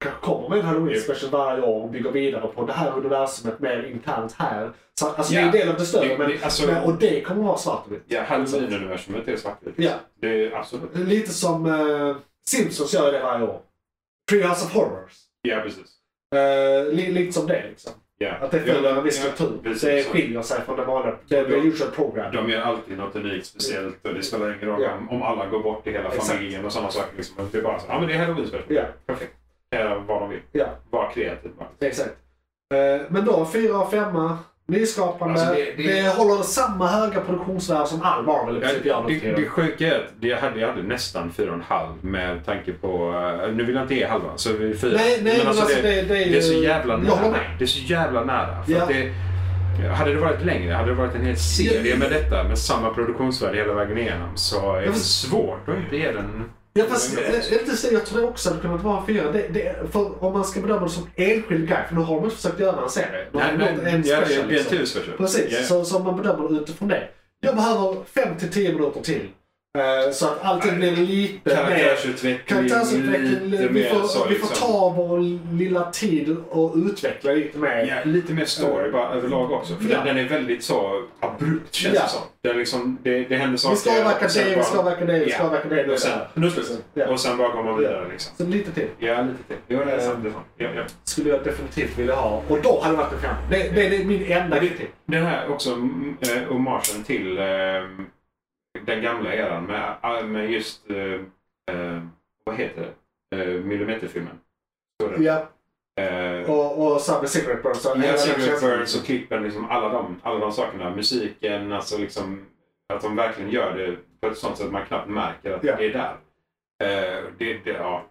S1: Kanske kommer med en halloween special varje år och bygger vidare på det här universumet mer internt här. Så, alltså det är en
S3: Ja.
S1: del av det större.
S3: Det-
S1: men,
S3: det- alltså-
S1: men, och det kommer vara svart och vitt.
S3: ja Halloween-universumet är svartvitt.
S1: Ja,
S3: Det är absolut.
S1: lite som eh, Simpsons gör det varje år. Treehouse of Horrors.
S3: Ja, precis.
S1: Eh, li, lite som det liksom.
S3: Ja.
S1: Att det följer en viss
S3: Ja,
S1: struktur.
S3: precis.
S1: det skiljer sig från det vanliga. Det är
S3: Ja.
S1: usual program.
S3: De gör alltid något unikt speciellt och det spelar ingen roll
S1: Ja.
S3: om, om alla går bort i hela
S1: Exakt.
S3: familjen och sådana saker. Liksom. Det är bara så, ja men det är halloween special.
S1: Ja,
S3: Perfekt. Göra vad de vill.
S1: ja,
S3: Var kreativ bara.
S1: exakt. Eh, men då, fyra och femma. Nyskapande.
S3: Alltså,
S1: det,
S3: det- det-
S1: håller samma höga produktionsvärde som all Marvel i
S3: Ja,
S1: princip gör nu för
S3: det, det
S1: tiden.
S3: sjuka är att jag hade, jag hade nästan 4,5 med tanke på... eh, Nu vill jag inte ge halva, så vi är fyra.
S1: Nej, nej, men alltså det, det,
S3: det är så jävla
S1: jag håller
S3: nära.
S1: med.
S3: Det är så jävla nära. För
S1: Ja.
S3: att det, hade det varit längre, hade det varit en hel serie med detta med samma produktionsvärde hela vägen igenom så är det
S1: fast-
S3: svårt att inte ge den...
S1: Ja, fast, eh, inte så, jag tror det också hade kunnat vara en fyra. Det, det, för om man ska bedöma det som enskild guy, för nu har de inte försökt göra en serie. De har
S3: Nej,
S1: gjort
S3: nej,
S1: en
S3: ja, det
S1: special,
S3: är- det är en
S1: liksom.
S3: tur special.
S1: Precis,
S3: Ja, ja.
S1: så, så man bedömer det utifrån det. Jag behöver 5 till 10 minuter till. Eh, Så att allting blir lite mer...
S3: Karaktärsutveckling,
S1: Karaktärsutveckling,
S3: lite
S1: vi
S3: mer så
S1: får, vi får
S3: liksom.
S1: ta vår lilla tid och utveckla lite mer.
S3: Ja, lite mer story bara överlag också. För
S1: Ja.
S3: den, den är väldigt så abrupt känns
S1: Ja.
S3: det som. Den liksom, det, det händer saker.
S1: Vi ska avverka
S3: och sen
S1: det, vi
S3: bara-
S1: ska avverka det, vi ska
S3: Ja.
S1: avverka det. det
S3: Och sen,
S1: där.
S3: nu slut.
S1: Ja.
S3: Och sen bara går man vidare liksom.
S1: Så lite till
S3: Ja, lite till. Jo, det är sant.
S1: Ehm.
S3: Det är sant. Ja, ja.
S1: skulle jag definitivt vilja ha. Och då hade det varit en fem. Det, det, det är min enda kritik.
S3: Den här också mm, eh, homagen till eh, den gamla eran med, med just, eh, eh, vad heter det, eh, millimeterfilmen. Så är det.
S1: Ja,
S3: Eh,
S1: och, och så här med Secret Burns. och-
S3: Ja, Secret Birds och klippen, liksom alla, de, alla de sakerna. Musiken, alltså liksom, att de verkligen gör det på ett sånt sätt att man knappt märker att
S1: Ja.
S3: det är där. Eh, det, det, ja.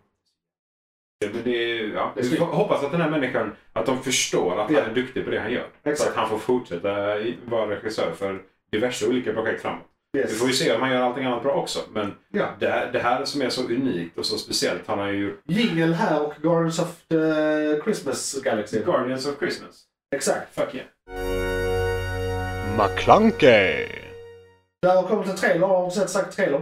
S3: Det, men det, ja.
S1: Det är
S3: Vi
S1: snyggt.
S3: får hoppas att den här människan att de förstår att
S1: Ja.
S3: han är duktig på det han gör. Så
S1: Exakt.
S3: att han får fortsätta i- vara regissör för diverse olika projekt framåt. Vi
S1: Yes.
S3: får ju se om han gör allting annat bra också. Men
S1: Ja.
S3: det, det här som är så unikt och så speciellt, han har ju gjort
S1: Jingle här och Guardians of the Christmas Galaxy.
S3: Guardians of Christmas.
S1: Exakt.
S3: Fuck yeah.
S4: McClunkey.
S1: Det har kommit en trailer. Har du sett sagt trailern?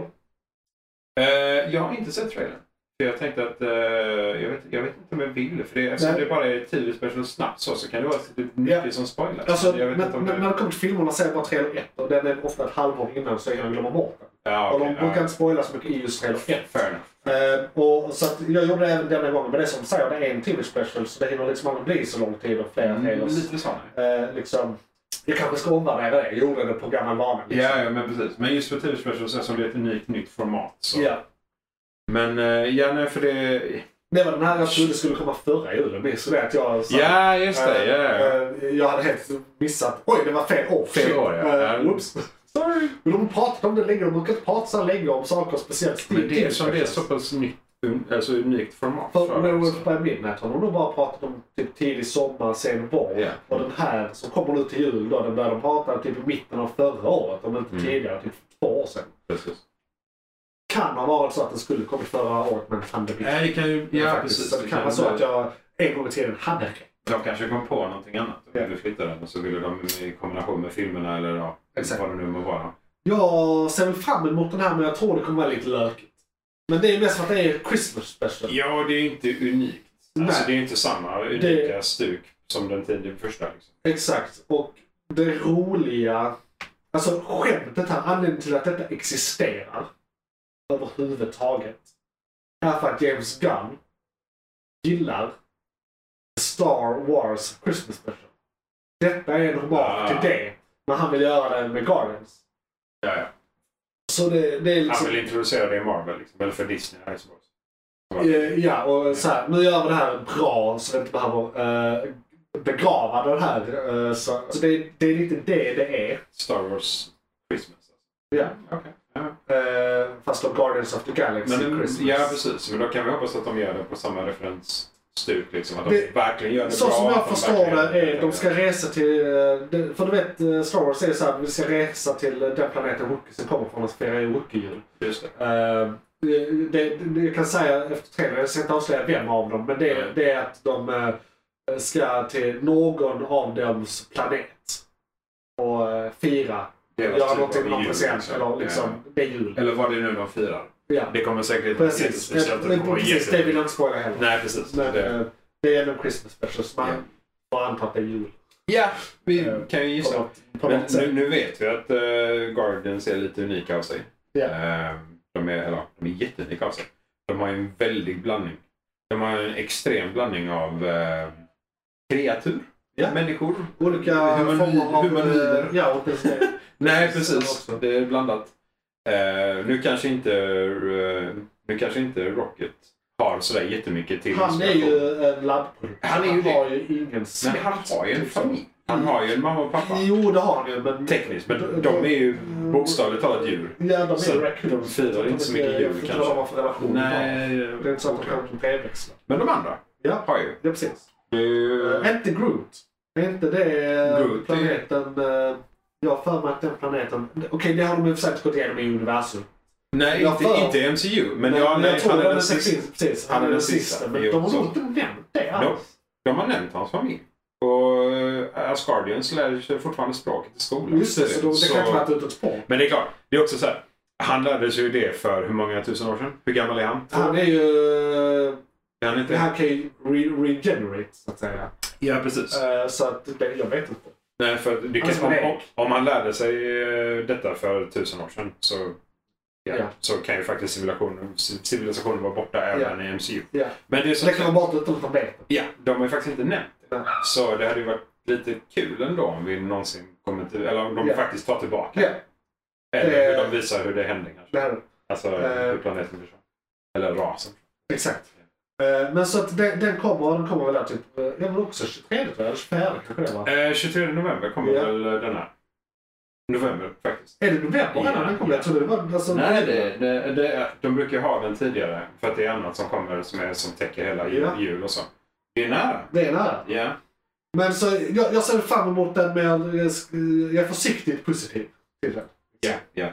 S3: Eh, jag har inte sett trailern. För jag tänkte att, eh, jag, vet, jag vet inte om jag vill. För det, eftersom
S1: Nej.
S3: det bara är tio special snabbt så, så kan det vara lite mycket som spoilas.
S1: Alltså,
S3: Mm. jag vet
S1: men,
S3: inte om
S1: men, när
S3: det...
S1: det kommer till filmerna ser jag bara trailer 1 och den är ofta ett halvår innan så jag glömmer bort den.
S3: Ja,
S1: Och
S3: okej,
S1: de brukar
S3: ja.
S1: inte spoila så mycket i just trailer 1.
S3: Fair enough.
S1: Eh, och, så att jag gjorde det även denna gången. Men det är som du säger, det är en timme special så det hinner liksom aldrig bli så lång tid och flera
S3: Mm,
S1: trailers.
S3: lite sådana.
S1: Eh, liksom, jag kanske ska omvärdera det. Jag gjorde det på gammal vana. Liksom.
S3: Ja, ja, men precis. Men just för tv specials eftersom det är ett unikt nytt format. Så.
S1: liksom. Ja.
S3: Men eh, ja, nej, för det...
S1: Det var den här jag trodde skulle komma förra julen. Minns du det? Att jag sa-
S3: Ja, just det. Ja, ja.
S1: Eh, Jag hade helt missat. Oj, det var fel år.
S3: Fel år, ja.
S1: Eh, Oops. Sorry. Men de pratar om det länge. De brukar inte prata så här länge om saker speciellt.
S3: Men det är, som det är så pass nytt, un, alltså unikt format.
S1: För No
S3: dem,
S1: Wolf
S3: så-
S1: by Midnight har de nog bara pratat om typ tidig sommar, sen vår.
S3: Ja.
S1: Och den här som kommer nu till jul då, den började de prata typ i mitten av förra året. Om inte
S3: Mm.
S1: tidigare, typ två år sedan.
S3: Precis.
S1: Kan ha varit så att den skulle kommit förra året men pandemin.
S3: Nej, det kan ju...
S1: Ja,
S3: Ja,
S1: faktiskt.
S3: precis.
S1: Så det kan vara så att jag en gång i tiden hade rätt.
S3: De kanske kom på någonting annat och
S1: Ja.
S3: ville flytta den och så ville de i kombination med filmerna eller ja,
S1: Exakt.
S3: vad det nu må vara.
S1: Jag ser väl fram emot den här men jag tror det kommer vara lite lökigt. Men det är mest för att det är Christmas special.
S3: Ja, det är ju inte unikt. Alltså,
S1: Nej.
S3: det är inte samma unika stuk som den tidigare första. Liksom.
S1: Exakt. Och det roliga... Alltså skämtet här, anledningen till att detta existerar överhuvudtaget är för att James Gunn gillar Star Wars Christmas special. Detta är en hommage
S3: Ah.
S1: till det. Men han vill göra det med Guardians.
S3: Ja, ja.
S1: Så det, det är liksom...
S3: Han vill introducera det i Marvel, liksom, eller för Disney. Här, så.
S1: Eh, Ja, och så här, nu gör vi det här bra så vi inte behöver eh, begrava den här. eh, så så det, det är lite det det är.
S3: Star Wars Christmas.
S1: Ja.
S3: Okay. Ja.
S1: Eh, fast då Guardians of the Galaxy
S3: Men,
S1: Christmas.
S3: ja, precis. Men då kan vi hoppas att de gör det på samma referensstuk. Liksom, att de
S1: Det-
S3: verkligen gör det
S1: Så
S3: bra.
S1: som
S3: att
S1: jag
S3: de
S1: förstår
S3: verkligen-
S1: det är, de ska resa till... eh, det- För du vet, eh, Star Wars är så här, vi ska resa till eh, den planeten Wookiesen kommer från och fira Wookie-jul.
S3: Just det.
S1: Eh, det, det, det jag kan säga efter trailern, jag ska inte avslöja vem av dem, men det,
S3: Mm.
S1: det är att de eh, ska till någon av dems planet och eh, fira.
S3: Deras
S1: Göra
S3: typ
S1: någonting
S3: av
S1: med någon
S3: jul,
S1: present
S3: liksom.
S1: eller liksom,
S3: Ja.
S1: det är jul.
S3: Eller vad det är nu de firar.
S1: Ja,
S3: Det kommer säkert
S1: precis. Det,
S3: jättespeciellt och
S1: det,
S3: kommer
S1: precis, det
S3: jätte-
S1: vill jag inte spoila heller.
S3: Nej, precis.
S1: Men
S3: det.
S1: eh, det är ändå en Christmas special så
S3: Ja.
S1: man får anta att det är jul.
S3: Ja, vi
S1: Eh,
S3: kan ju
S1: På
S3: gissa.
S1: något, på
S3: Men
S1: något
S3: nu,
S1: sätt.
S3: nu vet vi att uh, Guardians är lite unika av sig.
S1: Ja.
S3: Eh, de, är, eller, de är jätteunika av sig. De har ju en väldig blandning. De har en extrem blandning av eh, kreatur,
S1: Ja.
S3: människor.
S1: Olika
S3: humani-
S1: former av...
S3: humanoider.
S1: eh, Ja, och precis det.
S3: Nej,
S1: Precis,
S3: precis.
S1: också.
S3: Det är blandat. Eh, nu kanske inte eh, nu kanske inte Rocket har sådär jättemycket till
S1: Han är
S3: inspiration.
S1: ju en labbprodukt.
S3: Han är ju det.
S1: har ju ingen
S3: Men
S1: släkt.
S3: han har ju en
S1: liksom.
S3: familj. Han har ju en mamma och pappa.
S1: Jo, det har han ju. Men...
S3: Tekniskt,
S1: Mm.
S3: men de är ju bokstavligt talat djur.
S1: Ja, de
S3: Så
S1: är raccoons.
S3: de firar inte så mycket jul,
S1: Jag
S3: kanske.
S1: vad de har för relation.
S3: Nej,
S1: Det är inte så att de
S3: oklart.
S1: kan brevväxla.
S3: Men de andra
S1: Ja,
S3: har ju.
S1: ja precis.
S3: Det är ju-
S1: Äh, inte Groot. Är inte det eh,
S3: Eh. Groot, det är-
S1: planeten... eh, Jag har för mig att den planeten... Okej, det har de i och för sig inte gått igenom i universum.
S3: Nej,
S1: jag
S3: inte,
S1: för-
S3: inte MCU. Men, ja, nej,
S1: jag tror
S3: han är den
S1: sista.
S3: sista.
S1: Precis, han, är den sista. Men
S3: Jo,
S1: de har
S3: så.
S1: nog inte nämnt det
S3: Nope.
S1: alls.
S3: De har nämnt hans familj. Och eh, Asgardians lär sig fortfarande språket i skolan.
S1: Just det, så, de, det kan inte vara ett utåt spår.
S3: Men det är klart, det är också så här. Han lärde sig ju det för hur många tusen år sedan? Hur gammal är han?
S1: Han är ju... eh,
S3: Är han inte?
S1: Det här kan ju re- regenerate, så att säga.
S3: Ja, precis.
S1: Eh, Så att det, jag vet inte.
S3: Nej, för att det kan,
S1: Alltså,
S3: om,
S1: nej.
S3: om- om han lärde sig eh, detta för tusen år sedan så, ja,
S1: Ja.
S3: så kan ju faktiskt civilisationen, civilisationen vara borta även i MCU.
S1: Ja.
S3: Men det är så
S1: Så det kan vara bort utan att de vet.
S3: Ja, de har ju faktiskt inte nämnt det.
S1: Nej.
S3: Så det hade ju varit lite kul ändå om vi någonsin kommer till, eller om de
S1: Ja.
S3: faktiskt tar tillbaka.
S1: Ja,
S3: Eller
S1: det-
S3: hur de visar hur det hände kanske.
S1: det här är
S3: Alltså
S1: Eh.
S3: hur planeten blir så. Eller rasen.
S1: Exakt. Eh, Men så att den, den kommer, och den kommer väl där typ, eh, ja men också 23 tror jag, eller 24 kanske det var.
S3: Eh, 23 november kommer
S1: Ja.
S3: väl den här. November faktiskt.
S1: Är det november redan
S3: Ja.
S1: den kommer? Jag trodde det var... Alltså,
S3: Nej, det, det, det, de brukar ju ha den tidigare. För att det är annat som kommer som, är, som täcker hela jul,
S1: Ja.
S3: jul och så. Det är nära.
S1: Det är nära.
S3: Ja.
S1: Men så jag, jag ser fram emot den med, jag sk- eh, jag är försiktigt positiv till den.
S3: Ja, ja.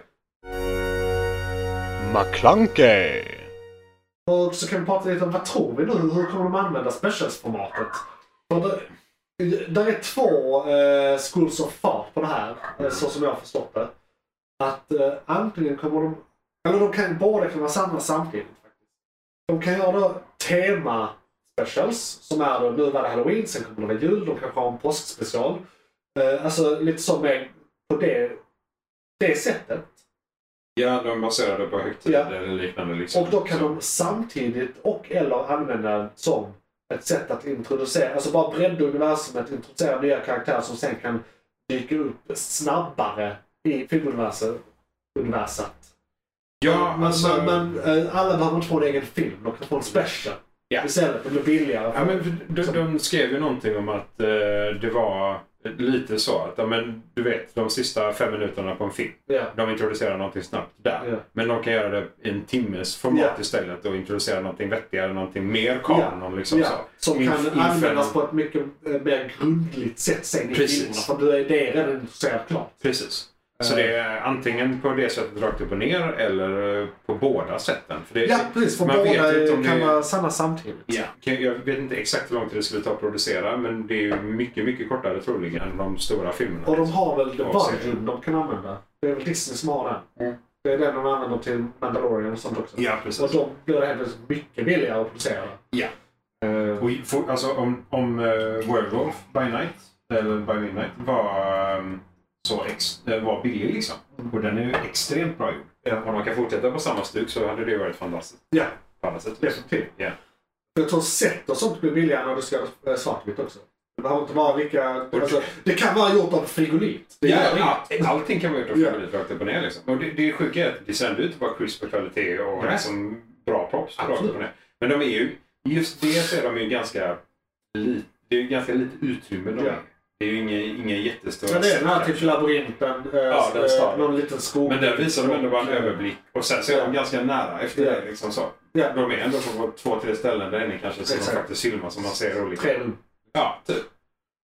S4: McClunkey,
S1: Och så kan vi prata lite om vad tror vi nu? Hur kommer de använda specialsformatet? För det, där är två eh, schools of thought på det här, eh, så som jag har förstått det. Att eh, antingen kommer de... Eller de kan, båda kan vara samma samtidigt. faktiskt. De kan göra då tema specials, som är då, nu var det halloween, sen kommer det vara jul, de kanske har en påskspecial. Eh, alltså lite så med, på det, det sättet.
S3: ja, de baserar det på högtider
S1: Ja.
S3: eller liknande. Liksom.
S1: Och då kan
S3: Så-
S1: de samtidigt och eller använda den som ett sätt att introducera, alltså bara bredda universumet, introducera nya karaktärer som sen kan dyka upp snabbare i filmuniversum- universat.
S3: Ja,
S1: Men,
S3: alltså...
S1: men, men eh, alla behöver inte få en egen film, de kan få en special
S3: Ja.
S1: istället. Det blir billigare.
S3: Ja, men de, de skrev ju någonting om att eh, det var lite så att, ja, men, du vet, de sista fem minuterna på en film,
S1: ja.
S3: de introducerar någonting snabbt där.
S1: Ja.
S3: Men de kan göra det i en timmes format
S1: Ja.
S3: istället och introducera någonting vettigare, någonting mer kanon. Liksom,
S1: ja,
S3: så.
S1: som
S3: Inf-
S1: kan
S3: inför-
S1: användas på ett mycket eh, mer grundligt sätt sen i
S3: Precis.
S1: filmerna. För då är det redan intresserat klart.
S3: Precis. Så det
S1: Eh.
S3: är antingen på det sättet rakt upp och ner eller eh, på båda sätten. För det,
S1: Ja, precis. För
S3: man vet
S1: båda
S3: inte om
S1: eh,
S3: det
S1: kan
S3: är-
S1: vara sanna samtidigt.
S3: Ja, kan- jag vet inte exakt hur lång tid det skulle ta att producera men det är ju mycket, mycket kortare troligen än de stora filmerna.
S1: Och de har väl The
S3: Ja,
S1: Budgeon de kan använda. Det är väl Disney som har den.
S3: Mm.
S1: Det är den de använder till Mandalorian och sånt också.
S3: Ja, precis.
S1: och de blir det helt plötsligt mycket billigare att producera.
S3: Ja.
S1: Eh,
S3: Och för, alltså om, om eh, Werewolf by Night, eller by Midnight, var, ehm, så ex, eh, var billig liksom. Och den är ju extremt bra gjord.
S1: Ja.
S3: Om man kan fortsätta på samma stuk så hade det varit fantastiskt.
S1: ja,
S3: På alla sätt. liksom.
S1: definitivt.
S3: Ja.
S1: typ. Jag tror sätt och sånt blir billigare när du ska göra eh, svartvitt också. Det behöver inte vara lika... Alltså, det kan vara gjort av frigolit. Det
S3: Ja,
S1: gör inget.
S3: all- allting kan vara gjort av
S1: Ja.
S3: favorit rakt upp och ner. Liksom. Och det, det sjuka är att det sänder ut bara crisp och kvalitet och
S1: Ja.
S3: liksom bra props rakt
S1: Absolut.
S3: upp och ner. Men de är ju, just det så är de ju ganska, li, det är ju ganska lite utrymme de
S1: Ja.
S3: är. Det är ju ingen, ingen jättestor...
S1: Men det är den här
S3: kanske.
S1: typ labyrinten, eh,
S3: Ja, den
S1: eh,
S3: staden.
S1: någon liten skog.
S3: Men där visar de ändå bara en överblick och sen så är
S1: Ja.
S3: de ganska nära efter
S1: Ja.
S3: det. Liksom så.
S1: Ja.
S3: De är ändå på två, tre ställen där inne kanske som de
S1: Exakt.
S3: faktiskt filmar som man ser olika.
S1: Tre rum.
S3: Ja, typ.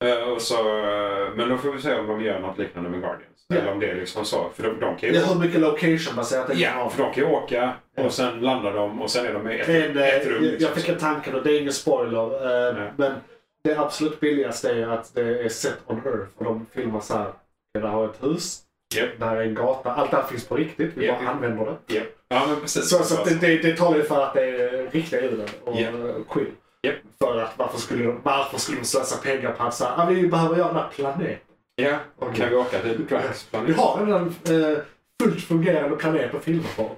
S3: Eh, Och så, eh, men då får vi se om de gör något liknande med Guardians.
S1: Ja.
S3: Eller om det är liksom så. För de, de kan ju
S1: Det är hur mycket location baserat det kan
S3: Ja,
S1: vara.
S3: för de kan ju åka
S1: Ja.
S3: och sen landar de och sen är de i ett,
S1: Men, eh,
S3: ett rum.
S1: jag,
S3: Liksom,
S1: jag fick
S3: så.
S1: en tanke och det är ingen spoiler. eh,
S3: Nej.
S1: Men det absolut billigaste är att det är set on earth. Och de filmar så här. Det där har ett hus.
S3: Japp.
S1: Det här är en gata. Allt det här finns på riktigt. Vi
S3: Japp.
S1: bara använder det.
S3: Ja. ja, men precis.
S1: Så, så att det, det, det talar ju för att det är riktiga ljuden och
S3: Japp.
S1: eh, quill.
S3: Japp.
S1: För att varför skulle, de- varför skulle de slösa pengar på att säga ah, vi behöver göra den här planeten.
S3: Ja,
S1: Okej.
S3: kan vi åka till Drax planet?
S1: Vi har redan eh, fullt fungerande planet att filma på.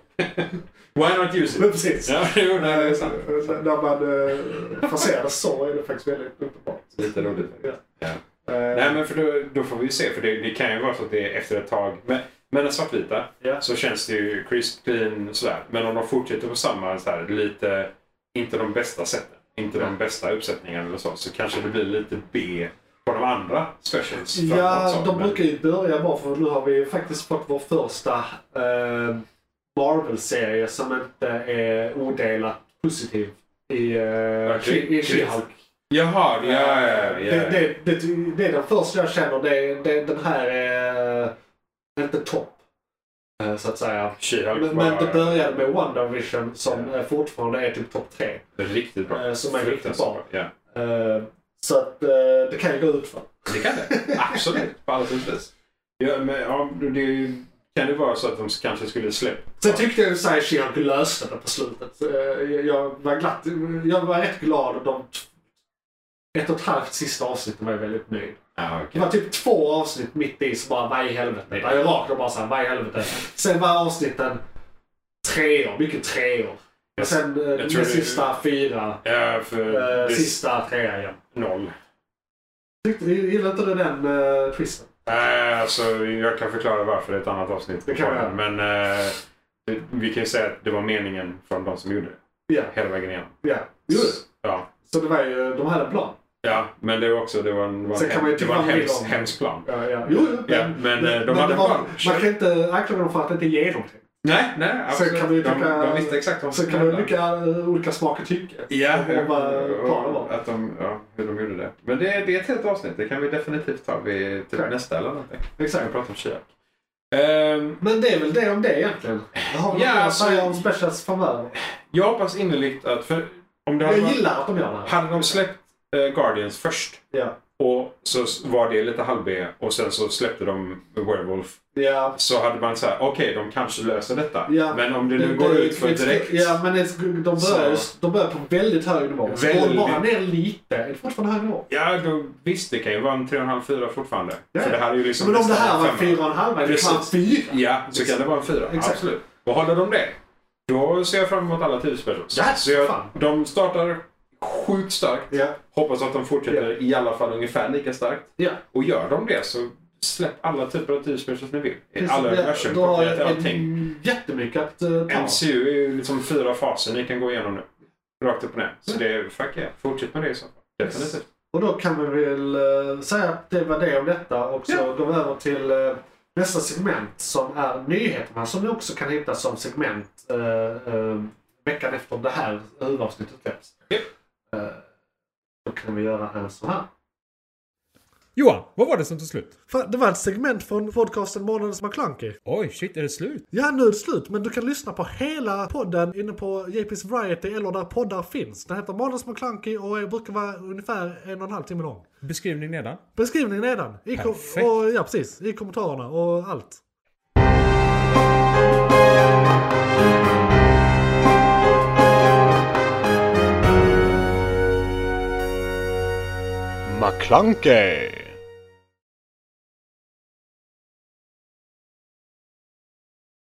S3: Why not use
S1: Men
S3: it?
S1: precis.
S3: Ja, jo, nej, det är sant.
S1: Eh, När man eh, får det så är det faktiskt väldigt uppenbart.
S3: Lite roligt.
S1: Ja.
S3: Ja.
S1: Eh,
S3: Nej, men för då, då får vi ju se. För det, det kan ju vara så att det är efter ett tag. Men, men den svartvita
S1: Ja.
S3: så känns det ju crisp, clean sådär. Men om de fortsätter på samma, så här, lite, inte de bästa sätten, inte de bästa uppsättningarna eller så, så kanske det blir lite B på de andra specials. framåt
S1: Ja,
S3: så,
S1: de
S3: men-
S1: brukar ju börja bra för nu har vi ju faktiskt fått vår första eh, Marvel-serie som inte är odelat positiv i, eh,
S3: Kri-
S1: i
S3: Kri-
S1: She-Hulk.
S3: Jaha, ja, ja, ja.
S1: Det, det, det, det är den första jag känner. Det, det, den här är eh, inte topp, eh, så att säga.
S3: She-Hulk
S1: Men, men det började med WandaVision som eh, fortfarande är typ topp tre.
S3: riktigt bra.
S1: eh, som är riktigt
S3: Fruktansvärt
S1: bra.
S3: Ja.
S1: Eh, så att eh, det kan ju gå ut för.
S3: Det kan det. Absolut. På alla sätt och vis. Ja, men, ja, det är ju Kan det vara så att de kanske skulle släppa...
S1: Sen tyckte jag ju såhär She-Hulk löste det på slutet. Eh, Jag var, glatt, jag var rätt glad och de t- ett och ett halvt sista avsnitten var jag väldigt nöjd.
S3: Ja,
S1: Det
S3: okej.
S1: var typ två avsnitt mitt i som bara, vad i helvete? Där jag rakt och bara såhär, vad i helvete? Sen var avsnitten treor, mycket treor. Och sen eh,
S3: tror
S1: den
S3: det-
S1: sista fyra,
S3: Ja, för
S1: eh,
S3: det är
S1: sista trea igen.
S3: noll.
S1: Tyckte, gillade inte du den uh, twisten?
S3: Nej, alltså, jag kan förklara varför i ett annat avsnitt.
S1: Det kan vi göra.
S3: Men eh, det- vi kan ju säga att det var meningen från de som gjorde det.
S1: Ja,
S3: Hela vägen igenom.
S1: ja. Jo,
S3: Ja.
S1: så det var ju, de hade en plan.
S3: ja, men det var också det var en, det var
S1: Sen
S3: en,
S1: kan man ju
S3: hem, det var en
S1: tycka vad man vill
S3: hemsk,
S1: om-
S3: hemsk plan.
S1: Ja, ja. Jo, jo,
S3: Ja, men, eh, de hade
S1: det var,
S3: bara-
S1: Man kan inte anklaga dem för att inte ge dem till.
S3: Nej, nej absolut.
S1: kan vi
S3: de,
S1: tycka-
S3: de visste exakt vad
S1: Så
S3: som
S1: kan
S3: skulle
S1: man
S3: hända.
S1: olika, eh, olika smaker tycka.
S3: Ja,
S1: och vad planen var.
S3: att de, ja, hur de gjorde det. Men det, det är ett helt avsnitt. Det kan vi definitivt ta vid typ
S1: Okej.
S3: nästa eller någonting. Vi kan
S1: Exakt.
S3: prata om Kiak. Ehm,
S1: Men det är väl det om det egentligen. Jag har väl
S3: Ja,
S1: något att
S3: alltså-
S1: säga om specials framöver.
S3: jag hoppas innerligt att... För, om det hade,
S1: Jag
S3: varit-
S1: gillar att de gör det här.
S3: hade de släppt eh, Guardians först
S1: Ja.
S3: och så s- var det lite halv-B och sen så släppte de Werewolf
S1: Ja.
S3: så hade man så här, okej de kanske löser detta.
S1: Ja.
S3: Men om det nu går ut för
S1: det- det-
S3: direkt.
S1: Ja, men det, de, börjar, de börjar på väldigt hög nivå. Väldigt.
S3: Väldigt.
S1: Går bara ner lite, är det fortfarande hög nivå?
S3: Ja, då, visst det kan ju vara en 3,5-4 fortfarande.
S1: Ja,
S3: För
S1: ja.
S3: det här är ju liksom
S1: Men om det
S3: nästan
S1: här var
S3: en femma.
S1: fyra och en halv, är det fan
S3: Precis.
S1: fyra?
S3: Ja, så kan det vara en fyra.
S1: Exakt.
S3: Absolut. Och håller de det, då ser jag fram emot alla tio specials.
S1: Ja,
S3: så jag,
S1: fan.
S3: de startar sjukt starkt.
S1: Ja.
S3: Hoppas att de fortsätter i alla fall ungefär lika starkt.
S1: Ja.
S3: Och gör de det så släpp alla typer av tio specials ni vill. I
S1: Precis.
S3: alla
S1: Ja,
S3: universum,
S1: då har
S3: kopiera till
S1: jag
S3: allting.
S1: en- jättemycket att eh, ta.
S3: MCU är ju liksom fyra faser ni kan gå igenom nu. Rakt upp och ner. Så det är, fuck yeah. Fortsätt med det i så fall.
S1: Mm. Yes.
S3: Definitivt.
S1: Och då kan vi väl eh, säga att det var det om detta och så
S3: Ja.
S1: går vi över till eh, nästa segment som är nyheterna som vi också kan hitta som segment eh, eh, veckan efter det här huvudavsnittet släpps.
S3: Japp.
S1: Eh, då kan vi göra en sån här.
S2: Johan, vad var det som tog slut?
S1: Det var ett segment från podcasten Månadens McKlunky.
S2: Oj, shit, är det slut?
S1: Ja, nu är det slut. Men du kan lyssna på hela podden inne på JP's Variety eller där poddar finns. Den heter Månadens McKlunky och brukar vara ungefär en och en halv timme lång.
S2: Beskrivning nedan.
S1: Beskrivningen nedan. I kom-
S2: Perfekt.
S1: och, ja, precis. I kommentarerna och allt.
S4: McClunkey.